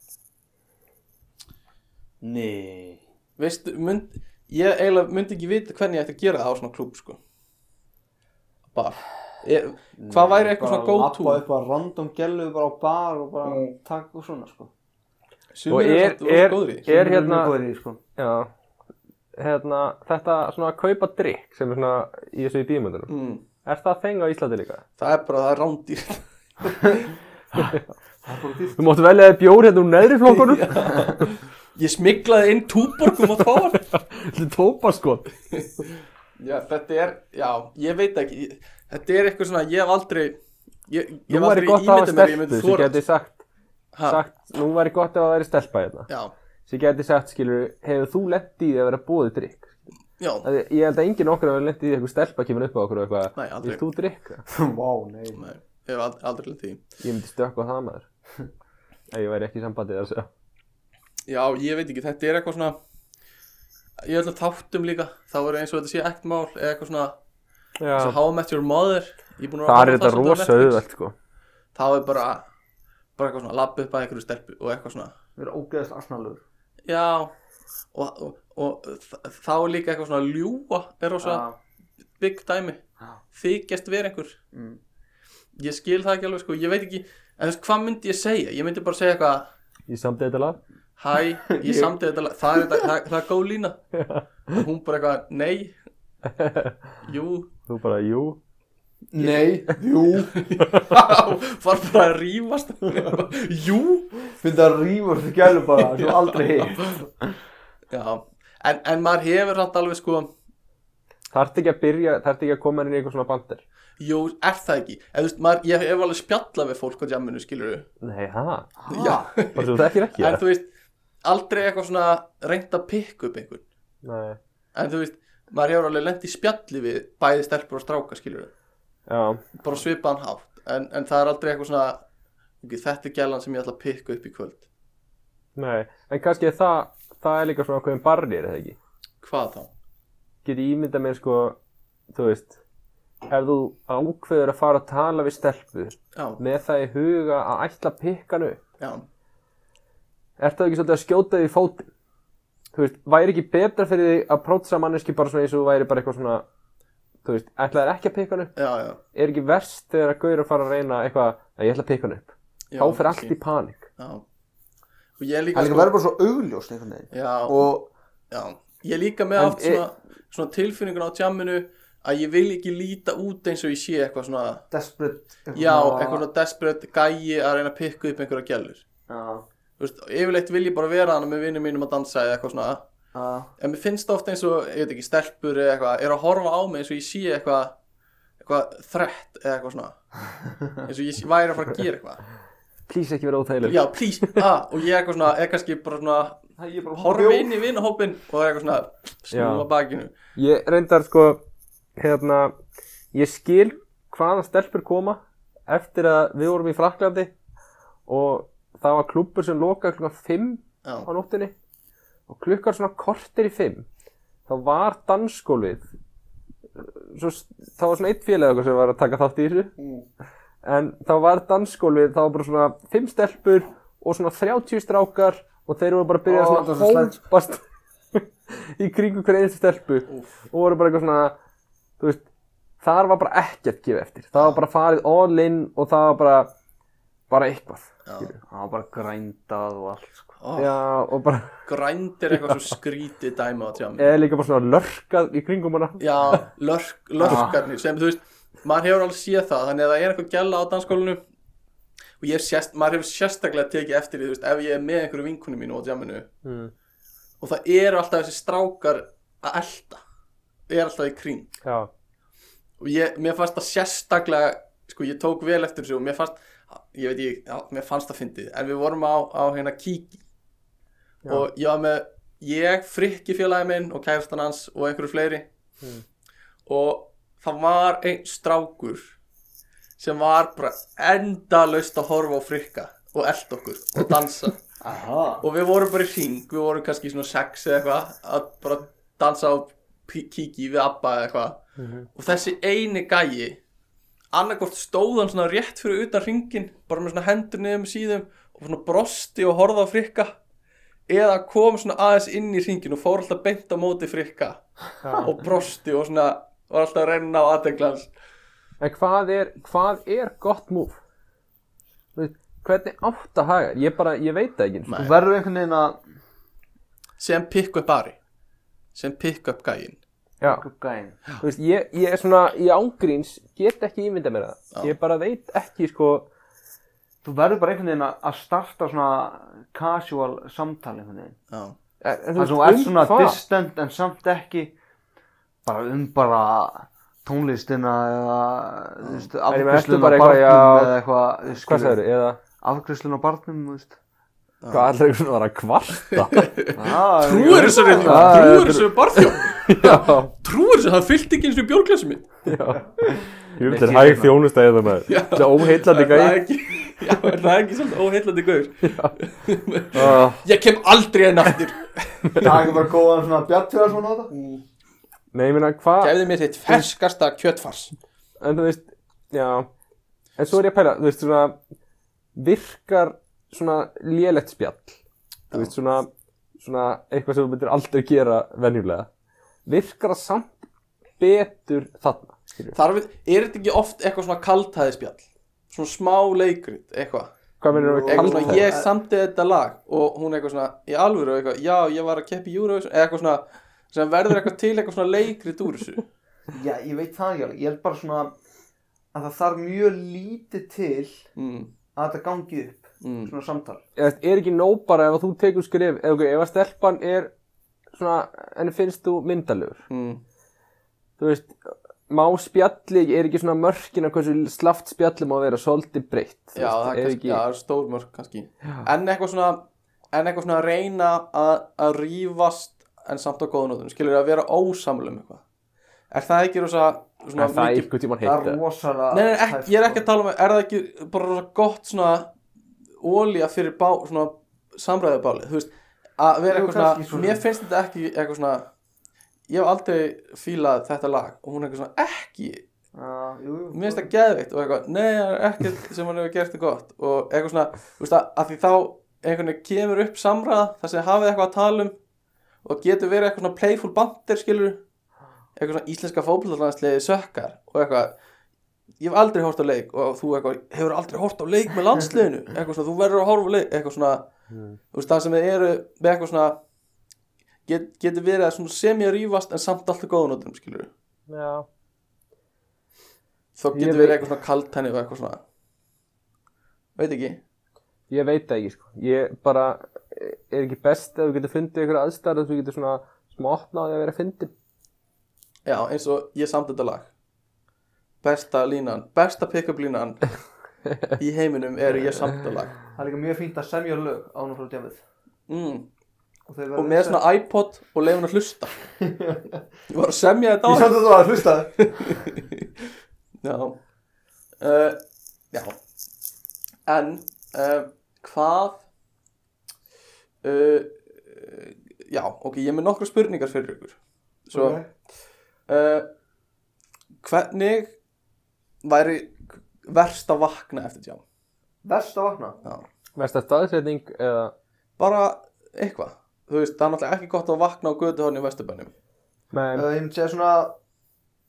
Speaker 3: Nei.
Speaker 1: Veistu, mynd, ég eiginlega myndi ekki vita hvernig ég ætti að gera það á svona klúb, sko Bara ég, Hvað væri eitthvað svona go
Speaker 3: Bara
Speaker 1: to?
Speaker 3: lappa upp að random gellu bara á bar og bara mm. taka og svona sko.
Speaker 2: Og
Speaker 1: Sumir
Speaker 2: er,
Speaker 1: eru svona
Speaker 2: er,
Speaker 1: góðri
Speaker 2: er, hérna,
Speaker 4: Hún er góðir í, sko.
Speaker 2: já, hérna, þetta svona að kaupa drikk sem er svona í þessu í bíumöndunum.
Speaker 1: mm,
Speaker 2: Er það þeng á Íslandi líka?
Speaker 1: Það er bara, það er rándýr
Speaker 2: Þú mátt velja þér bjór hérna úr neðri
Speaker 1: [LAUGHS]
Speaker 2: flokkunum.
Speaker 1: [LAUGHS] Ég smiklaði inn túborgum og fáar
Speaker 2: Þetta er
Speaker 1: sko.
Speaker 2: tópaskot.
Speaker 1: Já, þetta er, já, ég veit ekki ég- Þetta er eitthvað svona, ég hef aldrei Ég, ég
Speaker 2: Nú
Speaker 1: hef
Speaker 2: væri
Speaker 1: aldrei
Speaker 2: gott að hafa
Speaker 1: ímyndað mér, að ég
Speaker 2: stelpu
Speaker 1: myndi
Speaker 2: sem
Speaker 1: þóra
Speaker 2: geti sagt,
Speaker 1: Ha,
Speaker 2: sagt, nú væri gott að það væri stelpa hérna.
Speaker 1: Já,
Speaker 2: sem geti sagt, skilur, hefur þú lett í því að vera bóðið drikk?
Speaker 1: já,
Speaker 2: Af því Ég held að enginn okkar hefur lett í því að eitthvað stelpa kemur upp á okkur og eitthvað,
Speaker 1: Nei, aldrei.
Speaker 2: vilt þú drikk?
Speaker 4: Vá, nei
Speaker 1: nei, ég hef aldrei, aldrei lent í því
Speaker 2: Ég myndi stökka á það maður. Ef ég væri ekki í sambandi þar svo.
Speaker 1: Já, ég veit ekki, þetta er eitthvað svona Ég held að þáttum líka Þá er eins og þetta sé ekkert mál Eða eitthvað svona,
Speaker 2: Já.
Speaker 1: svo how I met your mother Ég búin að
Speaker 2: Það er
Speaker 1: horfa á
Speaker 2: þetta
Speaker 1: svolítið á
Speaker 2: rosa
Speaker 1: Netflix.
Speaker 2: auðvelt, sko.
Speaker 1: Þá er bara, bara eitthvað svona Lappa upp að einhverju stelpu og eitthvað svona
Speaker 4: Við erum ógeðast asnalur
Speaker 1: Já, og, og, og þ- þá er líka eitthvað svona ljúa Er rosa big dæmi
Speaker 4: Já.
Speaker 1: þykjast vera einhver
Speaker 4: Mm.
Speaker 1: ég skil það ekki alveg sko, ég veit ekki en þú veist, hvað myndi ég segja, ég myndi bara segja eitthvað
Speaker 2: Ég samdi þetta lag.
Speaker 1: hæ, ég samdi þetta, lag." það er þetta það, það er góð lína og hún bara eitthvað, nei jú,
Speaker 2: Þú bara, jú.
Speaker 3: Nei, jú,
Speaker 4: [LAUGHS]
Speaker 1: var bara að rífast [LAUGHS] jú,
Speaker 3: finn það að rífa þessu gælu bara, þú aldrei heitt.
Speaker 1: já en, en maður hefur samt alveg sko
Speaker 2: Það ert ekki að byrja, það ert ekki að koma inn í eitthvað svona bandir.
Speaker 1: jú, er það ekki, en þú veist, maður, ég hef alveg spjallað við fólk á jamminu, skilur
Speaker 2: Nei, hæ?
Speaker 1: já,
Speaker 2: Bara svo þekkir ekki
Speaker 1: en
Speaker 2: það.
Speaker 1: þú veist aldrei eitthvað svona reynd að pikk upp einhvern
Speaker 2: Nei.
Speaker 1: en þú veist, maður hefur alveg lent í spjalli við bæði stelpur og stráka, skilur
Speaker 2: Já.
Speaker 1: bara á svipaðan hátt, en, en það er aldrei eitthvað svona ok, þetta er gælan sem ég ætla að pikka upp í kvöld
Speaker 2: Nei. En kannski það, það er líka svona ákveðin barnir, eða ekki?
Speaker 1: hvað þá?
Speaker 2: get ég ímyndað mér sko, þú veist, ef þú ákveður að fara að tala við stelpu
Speaker 1: já,
Speaker 2: með það í huga að ætla að pikka hann upp,
Speaker 1: já,
Speaker 2: ert það ekki svolítið að skjóta því fótinn? Þú veist, væri ekki betra fyrir því að prótsa manneski bara svona eins og þú væri bara eitthvað svona, þú veist, ætlaðir ekki að pikka hann upp,
Speaker 1: já, já,
Speaker 2: er ekki verst þegar að gauður að fara að reyna eitthvað að ég ætla að pikka hann upp.
Speaker 1: já
Speaker 2: Þá
Speaker 1: ok,
Speaker 2: fyrir allt í panik.
Speaker 1: já. og ég er
Speaker 3: Það er
Speaker 1: líka, sko-
Speaker 2: Sko-
Speaker 3: líka verður bara svo augljóst einhvern veginn.
Speaker 1: já,
Speaker 3: Og
Speaker 1: já, ég er líka með
Speaker 2: En
Speaker 1: allt svona, svona tilfinningun á tjamminu að ég vil ekki líta út eins og ég sé eitthvað svona
Speaker 4: Desperate
Speaker 1: já, eitthvað svona desperate gæi að reyna að pikka upp einhverja gælur
Speaker 4: Já,
Speaker 1: Þú veist, yfirleitt vil ég bara vera hana með vinnum mínum að dansa eða eitthvað svona
Speaker 4: já
Speaker 1: en mér finnst ofta eins og, ég veit ekki, stelpur eða eitthvað, er að horfa á mig eins og ég sé eitthvað eitthvað þrett eða eitthvað
Speaker 2: [LAUGHS]
Speaker 1: svona eins og ég sé- væri að fara að gera eitthvað
Speaker 2: Please ekki vera óþægileg.
Speaker 1: já, please, ah, og ég eitthvað svona, er kannski bara svona
Speaker 4: Það er bara
Speaker 1: horfa inn í vinahópin og eitthvað svona snúa
Speaker 2: Já.
Speaker 1: bakinu
Speaker 2: Ég reyndar sko, hérna, ég skil hvaðan stelpur koma eftir að við vorum í Fraklandi og það var klúppur sem lokaði klukkan 5
Speaker 1: já,
Speaker 2: á nóttinni og klukkan svona kortir í 5 þá var eh,
Speaker 4: Mm.
Speaker 2: dansgólfið svo, s- þá var svona eitt félag okkar sem var að taka þátt í þessu en þá var dansskólið, þá var bara svona fimm stelpur og svona 30 strákar og þeir voru bara að byrja
Speaker 4: Ó,
Speaker 2: svona
Speaker 4: þetta var svo
Speaker 2: að
Speaker 4: slæmt.
Speaker 2: hópast [LAUGHS] í kringu hverja einstu stelpu og voru bara eitthvað svona þú veist, þar var bara ekkert gefið eftir það var bara farið all in og það var bara bara eitthvað
Speaker 4: Það var bara grændað og allt sko.
Speaker 1: Oh,
Speaker 2: Já, og bara,
Speaker 1: Grænd er eitthvað svo skrítið dæmi á tjámi
Speaker 2: eða líka bara svona lörkað í kringum hana
Speaker 1: Já, lörk, lörkarnir sem þú veist, maður hefur alveg séð það þannig að það er eitthvað gæla á dansskólinu og ég hef sérst, maður hefur sérstaklega tekið eftir því, þú veist, ef ég er með einhverju vinkunum mínu á djáminu
Speaker 2: Mm,
Speaker 1: og það eru alltaf þessi strákar að elta er alltaf í kring
Speaker 2: Já,
Speaker 1: og ég, mér fannst það sérstaklega sko, ég tók vel eftir þessu og mér fannst ég veit ég, já, mér fannst það fyndið en við vorum á, á hérna kíki og ég var með ég, frikki félagi minn og kæftan hans og einhverju fleiri og það var einn strákur sem var bara endalaust að horfa á frikka og eld okkur og dansa
Speaker 3: Aha.
Speaker 1: og við vorum bara í hring, við vorum kannski svona sex eða eitthvað að bara dansa á pí- kíki við Abba eða eitthvað og þessi eini gæi annarkvort stóð hann svona rétt fyrir utan hringin bara með svona hendur niður með síðum og svona brosti og horfði á frikka eða kom svona aðeins inn í hringin og fór alltaf beint á móti frikka og brosti og svona var alltaf að reyna á aðdeglans
Speaker 2: En hvað er, hvað er gott múf? Hvernig átt að haga? þér? Ég bara, ég veit það ekki eins og-
Speaker 1: Nei.
Speaker 4: Þú verður einhvern veginn að
Speaker 1: sem pick-up Ari sem pick-up gæin
Speaker 2: Já,
Speaker 4: gæn.
Speaker 2: þú veist, ég, ég er svona, ég ángríns get ekki ímynda mér það Ég bara veit ekki, sko
Speaker 4: Þú verður bara einhvern veginn að að starta svona casual samtali einhvern veginn.
Speaker 1: Já.
Speaker 2: en- en þú
Speaker 4: Það sem
Speaker 2: veist,
Speaker 4: er
Speaker 2: um
Speaker 4: svona
Speaker 2: hvað?
Speaker 4: distant en samt ekki bara um bara tónlistina eða þú veist,
Speaker 2: meina,
Speaker 4: afgreiðsluna
Speaker 2: ertu bara
Speaker 4: á
Speaker 2: eitthvað,
Speaker 4: barnum
Speaker 2: já,
Speaker 4: eða eitthvað þú
Speaker 2: Hvað
Speaker 4: skilur,
Speaker 2: sagður, eða
Speaker 4: afgreiðsluna á barnum þú veist.
Speaker 2: Hvað allir eitthvað svona var að kvarta
Speaker 1: Trúir þessu reyndi,
Speaker 2: Já,
Speaker 1: trúir
Speaker 2: þetta er-
Speaker 1: þessu barþjóð
Speaker 2: [LAUGHS] Já,
Speaker 1: Trúir þessu, það fyllt ekki eins og bjórglasum minn
Speaker 2: já Ég
Speaker 4: þetta er hæg
Speaker 2: þjónustæði það maður Það er óheillandi
Speaker 1: Það er ekki, [LAUGHS] já, er það er ekki svolítið óheillandi gauður Ég kem aldrei enn [LAUGHS] aftur
Speaker 3: Það er bara góðan svona bjartfjörð svona á þetta.
Speaker 2: Nei, ég meina, hvað
Speaker 1: Gefði mér þitt ferskasta kjötfars
Speaker 2: en þú veist, já en svo er ég að pæla, þú veist, svona virkar svona lélegt spjall þú veist, svona, svona eitthvað sem þú myndir aldrei gera venjulega virkar það samt betur þarna, skilju
Speaker 1: Þar við, er þetta ekki oft eitthvað svona kaltæðispjall Svona smá leikrit, eitthvað
Speaker 2: hvað mennir við
Speaker 1: Eitthvað svona,
Speaker 2: kallað
Speaker 1: ég samti þetta lag Og hún eitthvað svona, í alvöru og eitthvað Já, ég var að keppa í Eurovision Eða eitthvað svona, sem verður eitthvað til eitthvað svona leikrit úr þessu
Speaker 3: Já, ég veit það ekki alveg. Ég held bara svona að það þarf mjög lítið til
Speaker 1: mm,
Speaker 3: að þetta gangi upp,
Speaker 1: mm.
Speaker 3: svona samtal.
Speaker 2: er, er ekki nóg bara ef að þú tekur skrif ef, ok, ef að stelpan er svona, en finnst þú myndalegur
Speaker 1: Mm.
Speaker 2: þú veist má spjalli, er ekki svona mörkin af hversu slaft spjalli má vera svolítið breytt þú
Speaker 1: Já,
Speaker 2: veist,
Speaker 1: það er, kannski, já,
Speaker 2: ekki,
Speaker 1: það er stór mörg kannski En eitthvað svona En eitthvað svona að reyna að, að rífast En samt á góðunóttunum Skilur að vera ósamlega um eitthvað Er það ekki rosa svona
Speaker 2: Er það
Speaker 1: mikið-
Speaker 2: einhvern tímann
Speaker 3: Það
Speaker 2: heita
Speaker 3: er rosalega...
Speaker 1: Nei, nei, ekki, ég er ekki að tala um Er það ekki bara rosa gott svona Ólía fyrir bá, svona samræðubálið Þú veist, að vera
Speaker 3: Jú,
Speaker 1: eitthvað svona,
Speaker 3: kannski svona.
Speaker 1: Mér finnst þetta ekki eitthvað svona Ég hef aldrei fílað þetta lag Og hún er eitthvað svona ekki
Speaker 3: Já, jú, jú.
Speaker 1: mér finnst það geðveikt og eitthvað, nei, það er ekkert sem hann hefur gert það gott og eitthvað svona, þú veist að, að því þá einhvern veginn kemur upp samræða þar sem hafið eitthvað að tala um og getur verið eitthvað svona playful bandir skilur, eitthvað svona íslenska fótbollarlandsliði sökkar og eitthvað ég hef aldrei hórt á leik og þú eitthvað, hefur aldrei hórt á leik með landsliðinu eitthvað svona, þú verður að horfa á leik eitthvað svona, þú veist það sem þið eru með eitthvað svona get, getur verið að svona semja rífast en samt alltaf góðunotum skilur
Speaker 2: Já
Speaker 1: þá
Speaker 2: Ég
Speaker 1: getur
Speaker 2: veit-
Speaker 1: verið eitthvað svona kaltæni og eitthvað svona veit ekki
Speaker 2: Ég veit það ekki, sko. Ég bara, er ekki best ef þú getur fundið einhverja aðstæður að þú getur svona smá opnaði að vera fyndin.
Speaker 1: já eins og ég samt þetta lag besta línan, besta pick-up línan í heiminum er ég samt þetta lag
Speaker 3: Það er líka mjög fínt að semja lög án og frá djafið.
Speaker 1: mm.
Speaker 3: Og, þau verða
Speaker 1: og með svona iPod og leifin að hlusta ég var að semja þetta á
Speaker 3: Ég samt að þú að hlusta
Speaker 1: já uh, já en uh, hvað uh, já ok, ég er með nokkra spurningar fyrir ykkur svo
Speaker 3: Ok.
Speaker 1: uh, hvernig væri verst að vakna eftir tjám
Speaker 3: Verst að vakna
Speaker 2: Versta staðsetning eða
Speaker 1: bara eitthvað þú veist, það er náttúrulega ekki gott að vakna á götu í Vesturbænum
Speaker 2: Nei,
Speaker 3: Uh, Ég myndi segja svona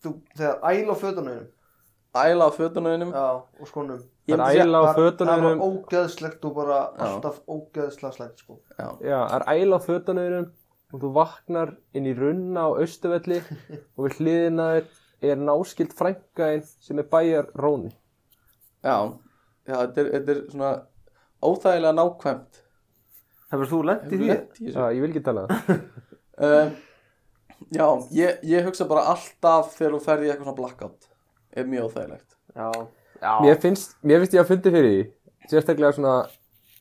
Speaker 3: þú, Þegar æla á fötunum
Speaker 1: æla á fötunauðinum
Speaker 3: Já, og skonum
Speaker 2: það er æla á
Speaker 3: Það var
Speaker 2: fötunum
Speaker 3: ógeðslegt og bara alltaf ógeðslega slæmt sko
Speaker 2: Já, það er æla á fötunum og þú vaknar inn í runna á austuvelli og við hliðina þér er náskild frænkaðin sem er bæjar Róni
Speaker 1: já, já þetta, er, þetta er svona óþægilega nákvæmt
Speaker 4: Hefur þú lent í því?
Speaker 1: Lent í þessu.
Speaker 2: Já, ég vil ekki tala það
Speaker 1: Um, já, ég, ég hugsa bara alltaf þegar þú ferði í eitthvað svona blackout er mjög óþægilegt
Speaker 4: Já. Já.
Speaker 2: Mér finnst, mér finnst ég að fundi fyrir því sérstaklega svona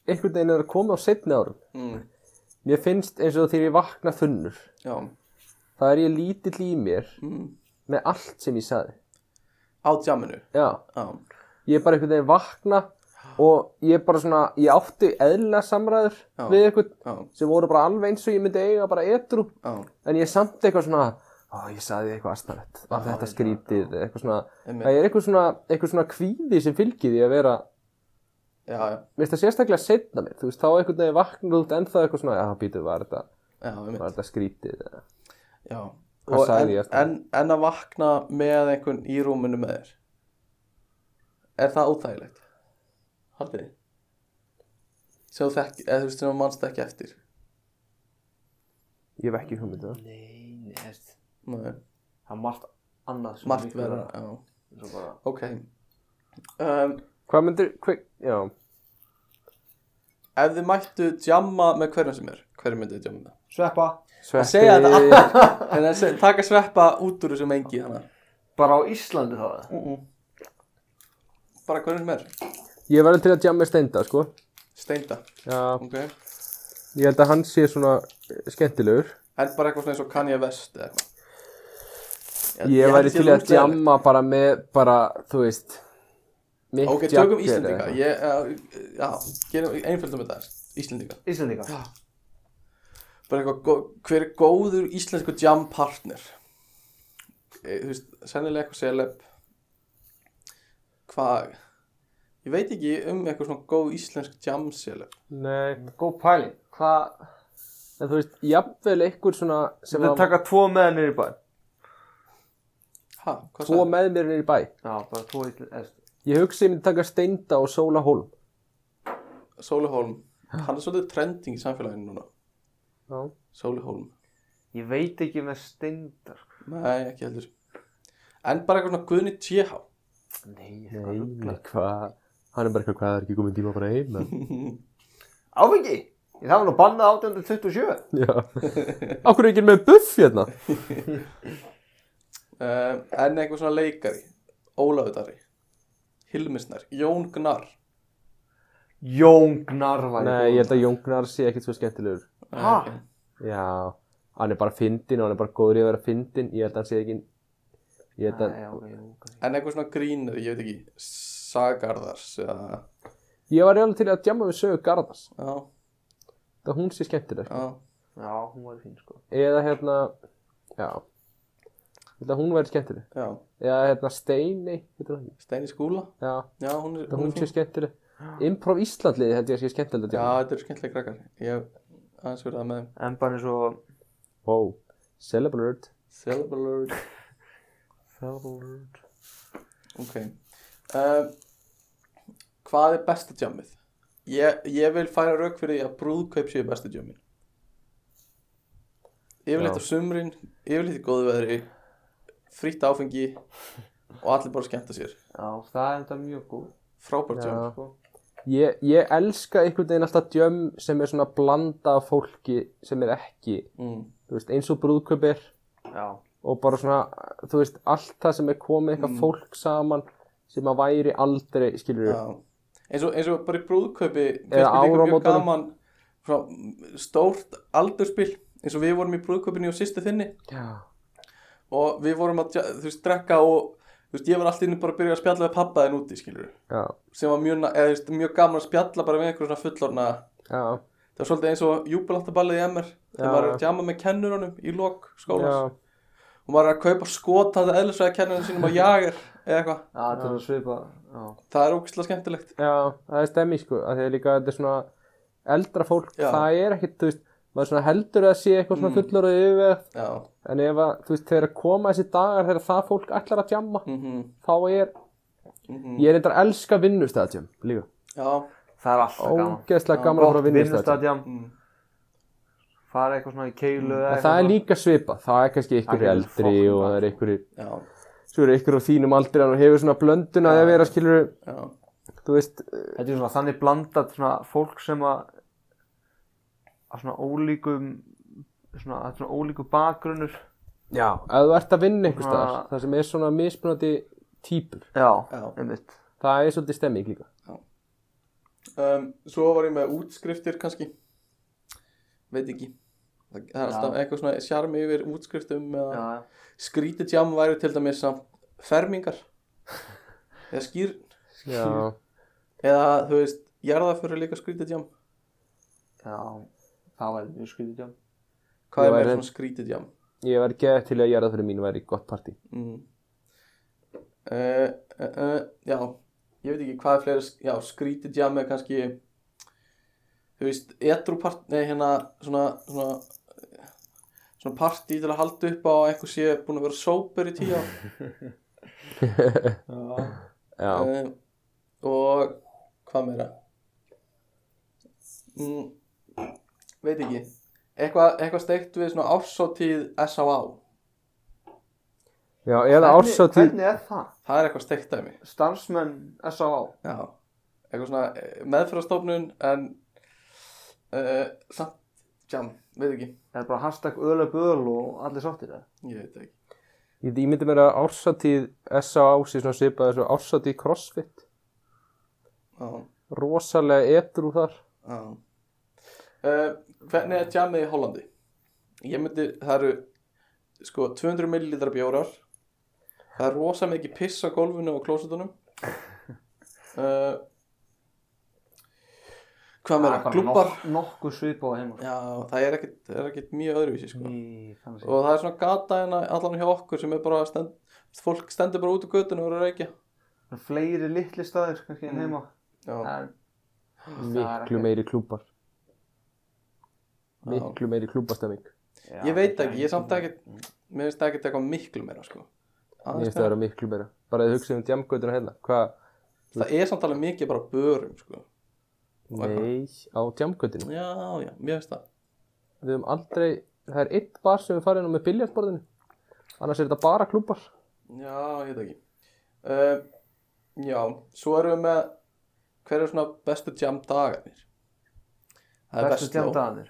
Speaker 2: einhvern veginn er að koma á setni árum
Speaker 1: mm.
Speaker 2: Mér finnst eins og þegar ég vakna þunnur
Speaker 1: já,
Speaker 2: Það er ég lítill í mér
Speaker 1: mm.
Speaker 2: með allt sem ég saði
Speaker 1: á tjáminu
Speaker 2: Já,
Speaker 1: já,
Speaker 2: ég er bara einhvern veginn vakna og ég er bara svona, ég átti eðla samræður
Speaker 1: Já.
Speaker 2: við einhvern
Speaker 1: já,
Speaker 2: sem voru bara alveg eins og ég myndi eiga bara etru
Speaker 1: já,
Speaker 2: en ég er samt eitthvað svona Ó, ég saði eitthvað astanett, var þetta skrítið eitthvað svona,
Speaker 1: Einmitt.
Speaker 2: það er eitthvað svona eitthvað svona kvíði sem fylgir því að vera
Speaker 1: já, já,
Speaker 2: mér finnst það sérstaklega setna mér, þú veist, þá einhvern veginn vaknar út ennþá eitthvað svona, já, býtu, var þetta
Speaker 1: já, einmitt.
Speaker 2: var þetta skrítið, eða?"
Speaker 1: já.
Speaker 2: Hvað
Speaker 1: Og en,
Speaker 2: sagði ég alltaf?
Speaker 1: en, en að vakna með einhvern í rúminu með þér er það óþægilegt haldið þið sem þú þekki, eða þú veist sem þú manst ekki eftir
Speaker 2: ég hef ekki
Speaker 1: um
Speaker 2: hugmyndið það
Speaker 3: Nei, nei, þú veist,
Speaker 1: Nei,
Speaker 3: það er margt annað sem er
Speaker 1: margt
Speaker 3: miklu
Speaker 1: verða
Speaker 3: verra.
Speaker 1: já,
Speaker 3: Eins og bara-
Speaker 1: ok um,
Speaker 2: hvað myndir, hver, já,
Speaker 1: ef þið mættu djamma með hverjum sem er hverjum myndið þið djamma með?
Speaker 3: Sveppa
Speaker 1: að segja þetta allir en að se- taka sveppa út úr hérna. þessu mengi hana.
Speaker 3: Bara á Íslandi þá eða?
Speaker 1: bara hverjum sem er
Speaker 2: ég verður til að jamma í steinda, sko
Speaker 1: steinda
Speaker 2: já,
Speaker 1: okay.
Speaker 2: Ég held að hann sé svona eh, skemmtilegur.
Speaker 1: en bara eitthvað svona eins og Kanye West eða eitthvað
Speaker 2: Ég, væri
Speaker 1: held
Speaker 2: til í að
Speaker 1: ógeðslegt.
Speaker 2: djamma bara með, bara, þú veist, Mick
Speaker 1: ok,
Speaker 2: Jagger
Speaker 1: tökum Íslendinga
Speaker 2: eða eitthvað.
Speaker 1: ég, já, já, gerum einföldum þetta aðeins. Íslendinga
Speaker 3: Íslendinga
Speaker 1: Já. bara eitthvað, gó- hver er góður íslensku jam partner e, þú veist, sennilega eitthvað celeb hvað ég veit ekki um eitthvað svona góð íslensk jam celeb
Speaker 4: Eh,
Speaker 2: Nei.
Speaker 3: Góð pæling Hvað
Speaker 2: En þú veist, jafnvel einhver svona sem
Speaker 4: Þau
Speaker 2: var
Speaker 4: taka tvo með henni í bæ
Speaker 1: ha, hvað
Speaker 2: tvo
Speaker 1: sagði?
Speaker 2: með mér niður í bæ.
Speaker 4: Já, bara tvo í eða,
Speaker 2: Ég hugsi ég myndi taka Steinda og Sóla Holm.
Speaker 1: Sólihólm, hann er svolítið trending í samfélaginu núna,
Speaker 2: Já.
Speaker 1: Sólihólm
Speaker 4: Ég veit ekki með steindar sko.
Speaker 1: nei, ekki heldur en bara eitthvað svona Guðni TH
Speaker 4: Nei,
Speaker 2: Nei, hvað? Hann er bara eitthvað, hvað er ekki komin tíma bara
Speaker 1: [LAUGHS]
Speaker 2: heim? en-
Speaker 3: Áfengi Ég það var nú bannað 1827
Speaker 2: Já. Akkur er ekki með buff hérna?
Speaker 1: uh, en eitthvað svona leikari Ólafur Darri Hilmisnær, Jón Gnarr
Speaker 3: Jón Gnarvæg
Speaker 2: Nei, ég held að Jóngnar sé ekkit svo skemmtilegur.
Speaker 1: ha,
Speaker 2: Já, hann er bara fyndin og hann er bara góður í að vera fyndin ég held að hann sé ekki ég held að,
Speaker 1: En eitthvað svona grínur, ég veit ekki, sagarðars eða,
Speaker 2: ég var reyðan til að djama við sögu Garðars
Speaker 1: já,
Speaker 2: það hún sé skemmtileg
Speaker 1: já,
Speaker 4: Já, hún var fín sko
Speaker 2: eða hérna, já ég held að hún væri skemmtileg
Speaker 1: já,
Speaker 2: eða hérna Steini, heitir hún ekki?
Speaker 1: Steini Skúla,
Speaker 2: já,
Speaker 1: já, hún er,
Speaker 2: það hún
Speaker 1: er
Speaker 2: sé
Speaker 1: fín.
Speaker 2: skemmtileg Improv Íslandliði held ég að sé skemmtileg að
Speaker 1: Já,
Speaker 2: djama
Speaker 1: þetta eru skemmtilega krakkar, ég hef aðeins verið það með þeim.
Speaker 4: En bara eins og
Speaker 2: wow, celebrate
Speaker 1: Celebralert,
Speaker 4: Fjárlóð
Speaker 1: ok. Um, hvað er besta djammið? Ég, ég vil færa rauk fyrir því að brúðkaup séu besta djammin. Yfirleitt
Speaker 2: Já.
Speaker 1: á sumrin, yfirleitt í góðu veðri, frítt áfengi og allir bara skemmta sér.
Speaker 4: Já, það er enda mjög góð sko.
Speaker 1: Frábært djamm.
Speaker 2: Já. ég, ég elska einhvern veginn alltaf djömm sem er svona blanda af fólki sem er ekki
Speaker 1: Mm.
Speaker 2: þú veist, eins og brúðkaupir
Speaker 4: Já
Speaker 2: og bara svona, þú veist, allt það sem er komið eitthvað fólk saman sem að væri aldrei, skilur við,
Speaker 1: Já. eins og, eins og bara í brúðkaupi finnst
Speaker 2: Eða
Speaker 1: mér líka mjög
Speaker 2: áramótunum.
Speaker 1: gaman svona, stórt aldurspil eins og við vorum í brúðkaupinu og sýstu þinni
Speaker 2: já.
Speaker 1: og við vorum að dja- þú veist, drekka og þú veist, ég var alltaf inni bara að byrja að spjalla við pappa þinn úti skilur
Speaker 2: já,
Speaker 1: sem var mjög, na- eða, þú veist, mjög gaman að spjalla bara með einhverjum svona fullorna
Speaker 2: já,
Speaker 1: það var svolítið eins og júbiláttaballið í MR
Speaker 2: Já.
Speaker 1: þegar maður er að djama með kennurunum í lok
Speaker 2: já,
Speaker 1: skólas og maður er að kaupa skot að eðlisvæða kennurinn sínum á jager eða eitthvað
Speaker 4: Já, þetta er að svipa
Speaker 1: það er ógæslega skemmtilegt
Speaker 2: Já, það er stemmi sko, að því að líka þetta er svona eldra fólk,
Speaker 1: Já.
Speaker 2: það er ekkit, þú veist, maður svona heldur að sé eitthvað svona fullur og yfir,
Speaker 1: já,
Speaker 2: en ef að, þú veist, þegar að koma þessi dagar þegar það fólk ætlar að djamma,
Speaker 1: mhm,
Speaker 2: þá er, ég er eitthvað að elska vinnustæðatjum líka,
Speaker 1: já
Speaker 4: Það er alltaf gaman.
Speaker 2: ógeðslega gaman að fara
Speaker 4: Gott
Speaker 2: að
Speaker 4: vinnustadjam,
Speaker 2: vinnustæðatjum.
Speaker 1: mm.
Speaker 4: fara eitthvað svona í keilu eða
Speaker 2: Mm. En
Speaker 4: eitthvað.
Speaker 2: það er líka svipað, það er kannski ykkur
Speaker 4: getur
Speaker 2: eldri
Speaker 4: fólk
Speaker 2: og það er ykkur,
Speaker 1: já,
Speaker 2: svo eru ykkur á þínum aldri og hefur svona blöndun að vera, skilur,
Speaker 1: já,
Speaker 2: þú veist,
Speaker 4: Þetta er svona þannig blandat svona fólk sem að að svona ólíkum svona, að svona ólíku bakgrunnur
Speaker 2: já, ef þú ert að vinna einhvers staðar,
Speaker 4: Svona-
Speaker 2: það sem er svona mismunandi típur,
Speaker 4: Já,
Speaker 1: Já.
Speaker 4: einmitt
Speaker 2: það er svolítið stemming líka.
Speaker 1: um, svo var ég með útskriftir kannski veit ekki það það er alltaf eitthvað svona sjarmi yfir útskriftum eða
Speaker 4: Já,
Speaker 1: skrítið jam væri til dæmis samt fermingar eða skýrn
Speaker 2: Já.
Speaker 1: eða þú veist, jarðaför er líka skrítið jam
Speaker 4: já
Speaker 3: Það var mjög skrítið jam.
Speaker 1: hvað
Speaker 2: Já,
Speaker 1: er meira
Speaker 2: er-
Speaker 1: svona skrítið jam
Speaker 2: [LAUGHS] Ég var geðið til að jarðaförin mín væri gott partí.
Speaker 1: mm. uh, uh, uh, já ég veit ekki hvað er fleira já, skrítið jam er kannski þú veist, edrupart nei, hérna, svona svona, svona partí til að halda upp á að einhver sé búin að vera sóper í tíu ár
Speaker 2: Já.
Speaker 1: Eh, og hvað meira mm, veit ekki eitthvað eitthva steikt við svona ársótíð S.A.A.
Speaker 2: Já, eða ársáttíð.
Speaker 4: Hvernig er það?
Speaker 1: það er eitthvað steikt dæmi
Speaker 4: Starfsmenn S.A.A.
Speaker 1: já. eitthvað svona eh, meðferðarstofnun en uh, samt jam, veit ekki
Speaker 4: Er bara hashtag öðlega böl og allir sáttir það?
Speaker 1: ég veit ekki
Speaker 2: Ég ég myndi mér að ársáttíð S.A.A. sé svona svipað þessu ársáttíð CrossFit.
Speaker 1: já,
Speaker 2: Rosalega edru þar.
Speaker 1: já. Uh, hvernig er jamið í Hollandi ég myndi, það eru sko 200 millilitra bjórar það er rosa mikið piss á gólfinu og klósutunum uh, hvað meira, klubbar
Speaker 4: Nokkuð svip á heimur
Speaker 1: já, það er ekkit, það er ekkit mjög öðruvísi sko.
Speaker 4: Í, þannig séð.
Speaker 1: og það er svona gata hérna allan hjá okkur sem er bara stend, fólk stendur bara út á göttinu og er að reykja
Speaker 4: Svona Fleiri litli staðir kannski en heima
Speaker 1: já,
Speaker 4: En er
Speaker 2: Miklu
Speaker 4: ekki-
Speaker 2: meiri klúpar.
Speaker 1: Já.
Speaker 2: Miklu meiri klúbastemming.
Speaker 1: ég veit ekki, ég samt ekkit mér finnst ekkit eitthvað miklu meira sko.
Speaker 2: Mér
Speaker 1: Aðeins
Speaker 2: finnst það að vera miklu meira. Bara þið hugsið um djamgötuna hérna. Hvað?
Speaker 1: það er samt alveg mikið bara börum sko.
Speaker 2: Nei, á djamgötinu.
Speaker 1: já, já, mér finnst það
Speaker 2: Við höfum aldrei, það er eitt bar sem við farið nú með biljartborðinu. Annars er þetta bara klúpar.
Speaker 1: Já, ég veit ekki uh, Já, svo erum við með hver er svona bestu jam dagarnir Það er
Speaker 4: Verstu
Speaker 1: Vestló
Speaker 4: tjamdaðanir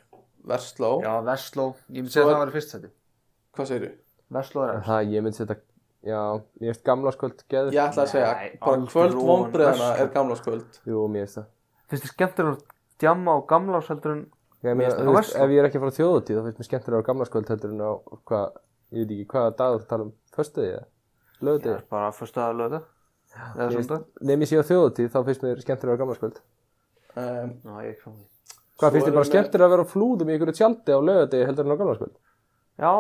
Speaker 1: Vestló,
Speaker 4: Já, Vestló Ég myndi
Speaker 1: Svo
Speaker 4: segja
Speaker 1: er-
Speaker 4: að það var í fyrst seti
Speaker 1: hvað segirðu?
Speaker 4: Vestló er
Speaker 2: En Það, ég myndi setja, já, ég veist gamla skvöld geður.
Speaker 1: Ég ætla að segja,
Speaker 4: Nei,
Speaker 1: bara
Speaker 4: aldrei
Speaker 1: kvöld
Speaker 4: ofan
Speaker 1: vonbreðana
Speaker 4: Versló.
Speaker 1: er gamla skvöld
Speaker 2: Jú, mér finnst það.
Speaker 4: Finnst þið skemmtilega að djamma á gamla heldur en
Speaker 2: Ég
Speaker 4: Mér
Speaker 2: meina,
Speaker 4: finnst
Speaker 2: þú
Speaker 4: það sko.
Speaker 2: veist,
Speaker 4: verst.
Speaker 2: ef ég er ekki að fara á þjóðutíð þá finnst mér skemmtilega á gamla skvöld heldur en á hvað, ég veit ekki hvaða dagur tala um föstuði eða
Speaker 4: Það er
Speaker 2: lögutíð.
Speaker 4: bara fyrsta að löða Eða söndag
Speaker 2: Nefn ég sé á þjóðutíð þá finnst mér skemmtilega á gamla skvöld.
Speaker 1: um,
Speaker 4: Ná, ég er ekki frá því
Speaker 1: Svo
Speaker 2: Hvað
Speaker 1: erum
Speaker 2: finnst þér bara
Speaker 1: við-
Speaker 2: skemmtilega að vera á flúðum í einhverju tjaldi á lögutíð heldur en á gamla skvöld?
Speaker 4: Já,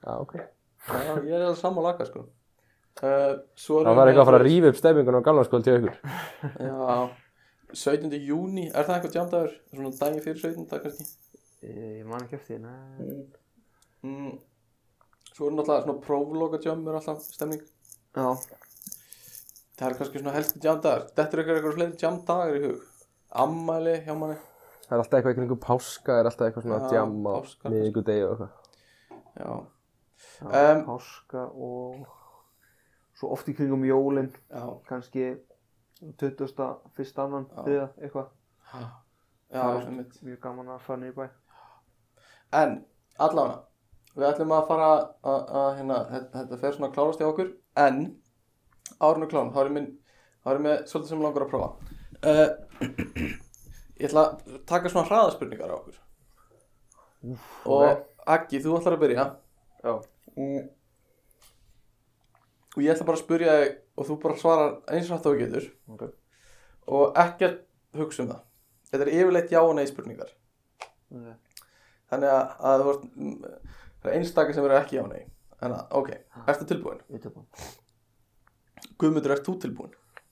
Speaker 2: Já, ok.
Speaker 1: Já, ég er alveg saman laka sko uh, Svo
Speaker 2: Það
Speaker 1: erum
Speaker 2: var
Speaker 1: við
Speaker 2: eitthvað að fara að
Speaker 1: með-
Speaker 2: rífa upp stemmingun á gamla skvöld hjá ykkur.
Speaker 1: Já, 17. júni, er það eitthvað jam dagur? Svona daginn fyrir 17. dag kannski
Speaker 4: ég ég man ekki eftir því
Speaker 1: mm, Svo erum náttúrulega svona prófloka jam er alltaf stemning
Speaker 4: Já,
Speaker 1: Það er kannski svona helstu jamdagar Þetta er eitthvað fleiri jamdagar í hug Ammæli hjá manni
Speaker 2: Það er alltaf eitthvað einhvern veginn páska, er alltaf eitthvað svona
Speaker 1: Já,
Speaker 2: djam á
Speaker 1: páskar,
Speaker 2: miðvikudegi og eitthvað.
Speaker 1: Já,
Speaker 4: já
Speaker 1: Em.
Speaker 4: páska og svo oft í kringum jólin
Speaker 1: já,
Speaker 4: kannski 21. annan
Speaker 1: Já.
Speaker 4: eða eitthvað
Speaker 1: já,
Speaker 4: Það er-
Speaker 1: einmitt
Speaker 4: mjög gaman að fara niður í bæ
Speaker 1: En, allavega Við ætlum að fara að, að hérna, þetta, þetta fer svona að klárast hjá okkur En, árinu klán Þá erum við, þá erum við svolítið sem mig langar að prófa uh, Ég ætla að taka svona hraðaspurningar á okkur Og Aggi, þú ætlar að byrja
Speaker 4: Já.
Speaker 1: mm. Og ég ætla bara að spyrja þig Og þú bara svarar eins og hægt og þú getur
Speaker 4: Ok.
Speaker 1: Og ekkert hugsa um það Þetta er yfirleitt já og nei spurningar
Speaker 4: Ok.
Speaker 1: Þannig að, að þú ert mm, Það er einstakar sem verður ekki já og nei Þannig að, ok, ertu tilbúin?
Speaker 4: Í tökum.
Speaker 1: Guðmundur, ert þú tilbúin?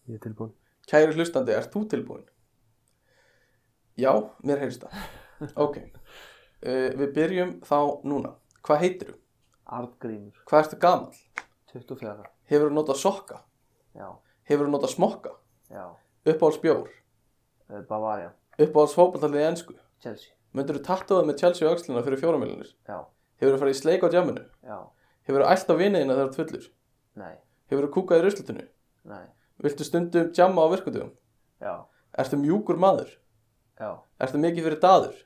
Speaker 2: Ég er tilbúin.
Speaker 1: Kæri hlustandi, ert þú tilbúin? Já, mér heyrst það. Ok. Uh, við byrjum þá núna. Hvað heitir þú?
Speaker 4: Arngrímur,
Speaker 1: Hvað ertu gamall?
Speaker 4: 24,
Speaker 1: Hefur þú notað sokka?
Speaker 4: já,
Speaker 1: Hefur þú notað smokka?
Speaker 4: já,
Speaker 1: Uppáhalds bjór?
Speaker 4: eh, Bavaria,
Speaker 1: Uppáhalds fókbaltallið ensku?
Speaker 4: Chelsea,
Speaker 1: Myndur þú tattuðað með Chelsea og öxlina fyrir fjóra miljonir?
Speaker 4: já,
Speaker 1: Hefur þú farið í sleik á djáminu?
Speaker 4: já,
Speaker 1: Hefur þú ælt á viniðina þegar þú ert fullur?
Speaker 4: nei,
Speaker 1: Hefur þú kúkað í ruslutinu?
Speaker 4: nei,
Speaker 1: Viltu stundum djamma á virkutugum?
Speaker 4: já,
Speaker 1: Ertu mjúkur maður?
Speaker 4: já,
Speaker 1: Ertu mikið fyrir daður?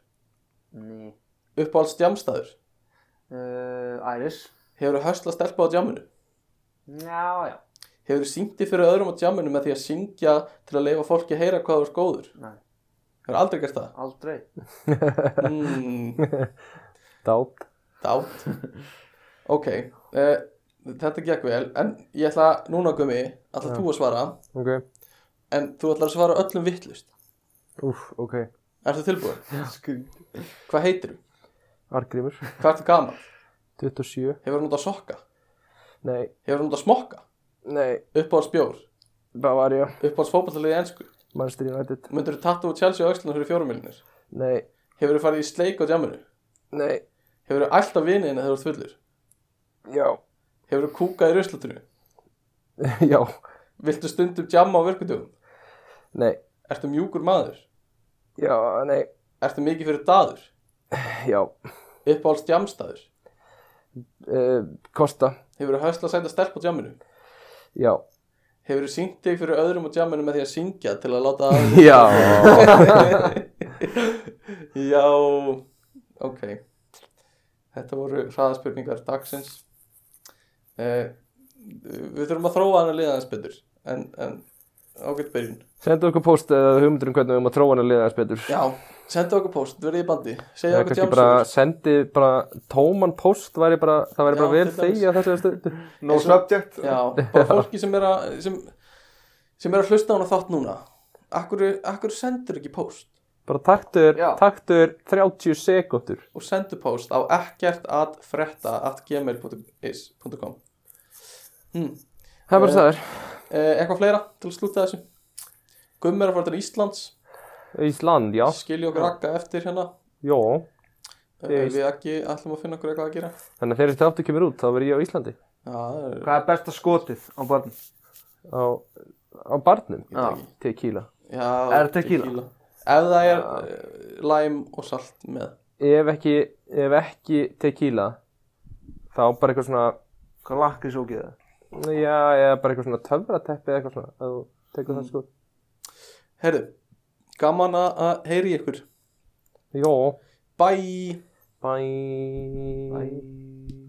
Speaker 4: ný,
Speaker 1: Uppáhalds djamstaður?
Speaker 4: uh, Iris,
Speaker 1: Hefur þú hösla stelpa á djáminu?
Speaker 4: já, já,
Speaker 1: Hefur þú syngti fyrir öðrum á djáminu með því að syngja til að leifa fólki að heyra hvað þú er góður?
Speaker 4: Nei.
Speaker 1: Hefur aldrei gert það?
Speaker 4: aldrei,
Speaker 1: Mm,
Speaker 2: Dát.
Speaker 1: dát. Ok, uh, þetta gekk vel, en ég ætla núna gummi, ætla þú að svara,
Speaker 2: Ok.
Speaker 1: en þú ætlar að svara öllum vittlust.
Speaker 2: Úf, ok.
Speaker 1: Ertu tilbúin?
Speaker 4: skund,
Speaker 1: Hvað heitir þú?
Speaker 2: Argrímur.
Speaker 1: Hvað ertu gaman?
Speaker 2: 27.
Speaker 1: Hefur þú notað sokka?
Speaker 2: Nei.
Speaker 1: Hefur þú notað smokka?
Speaker 2: Nei.
Speaker 1: Uppáhalds bjór?
Speaker 2: Bavaria.
Speaker 1: Uppáhalds fótballtaliði ensku?
Speaker 2: Manchester United.
Speaker 1: Myndur þú tattu úr Chelsea og Öxlunum fyrir fjórumilinir?
Speaker 2: Nei.
Speaker 1: Hefur þú farið í sleik á djáminu?
Speaker 2: Nei.
Speaker 1: Hefur þú allt á viniðina þegar þú ert fullur?
Speaker 2: Já. [LAUGHS]
Speaker 1: Hefur þú kúkað í ruslutinu?
Speaker 2: Já.
Speaker 1: Viltu stundum djamma á virkudugum?
Speaker 2: Nei.
Speaker 1: Ertu mjúkur maður?
Speaker 2: Já. Nei.
Speaker 1: Ertu mikið fyrir daður?
Speaker 2: Já.
Speaker 1: Uppáhalds djamstaður?
Speaker 2: Uh, Kosta.
Speaker 1: Hefur þú hösla að senda stelp á djaminu?
Speaker 2: Já. [LAUGHS]
Speaker 1: Hefur þú syngt þig fyrir öðrum á djaminu með því að syngja til að láta að...
Speaker 2: Já.
Speaker 1: [LAUGHS] Já, ok. Þetta voru hraðaspurningar dagsins. Uh, við þurfum að þróa hann að liða hans betur, en, en ágætt byrjun.
Speaker 2: Senda okkur post eða hugmyndur um hvernig við erum að tróa hann að liða þess betur.
Speaker 1: Já, senda okkur post, verðið í bandi, segja
Speaker 2: Eða
Speaker 1: okkur
Speaker 2: kannski bara
Speaker 1: djámsugur.
Speaker 2: sendi bara tóman post væri bara, það væri
Speaker 1: Já,
Speaker 2: bara vel
Speaker 1: til dæmis.
Speaker 2: þegja þessu stundu.
Speaker 3: No subject
Speaker 1: Já, bara fólki sem er að, sem, sem er að hlusta á hann þátt núna. Akkur, akkur sendur ekki post
Speaker 2: Bara taktu þér,
Speaker 4: Já.
Speaker 2: taktu þér 30 sekúndur.
Speaker 1: og sendu post á ekkert að fretta at gmail.is.com hmm.
Speaker 2: Það er bara
Speaker 1: Eh,
Speaker 2: það er.
Speaker 1: Eh, eitthvað fleira til að slúta þessu Gumm er að fara til Íslands
Speaker 2: Ísland, já.
Speaker 1: skilja okkur akka eftir hérna
Speaker 2: Jó.
Speaker 1: Ef
Speaker 2: Ég veist.
Speaker 1: við ekki ætlum að finna okkur eitthvað að gera
Speaker 2: Þannig að þegar þessi þáttu kemur út, þá verð ég á Íslandi.
Speaker 1: Já, það er,
Speaker 4: hvað er besta skotið á barn,
Speaker 2: Á, á barnum.
Speaker 1: veit ekki.
Speaker 2: Tequila.
Speaker 1: já,
Speaker 4: Er tequila?
Speaker 1: Ef það er uh, læm og salt með
Speaker 2: Ef ekki, ef ekki tequila, þá bara eitthvað svona,
Speaker 4: hvað lakrís ógeða,
Speaker 2: já, eða bara eitthvað svona töfrateppi eða eitthvað svona, ef þú tekur það sko.
Speaker 1: Herðu, gaman að- að heyri ykkur
Speaker 2: Jó.
Speaker 1: Bye
Speaker 2: Bye.
Speaker 4: bæ,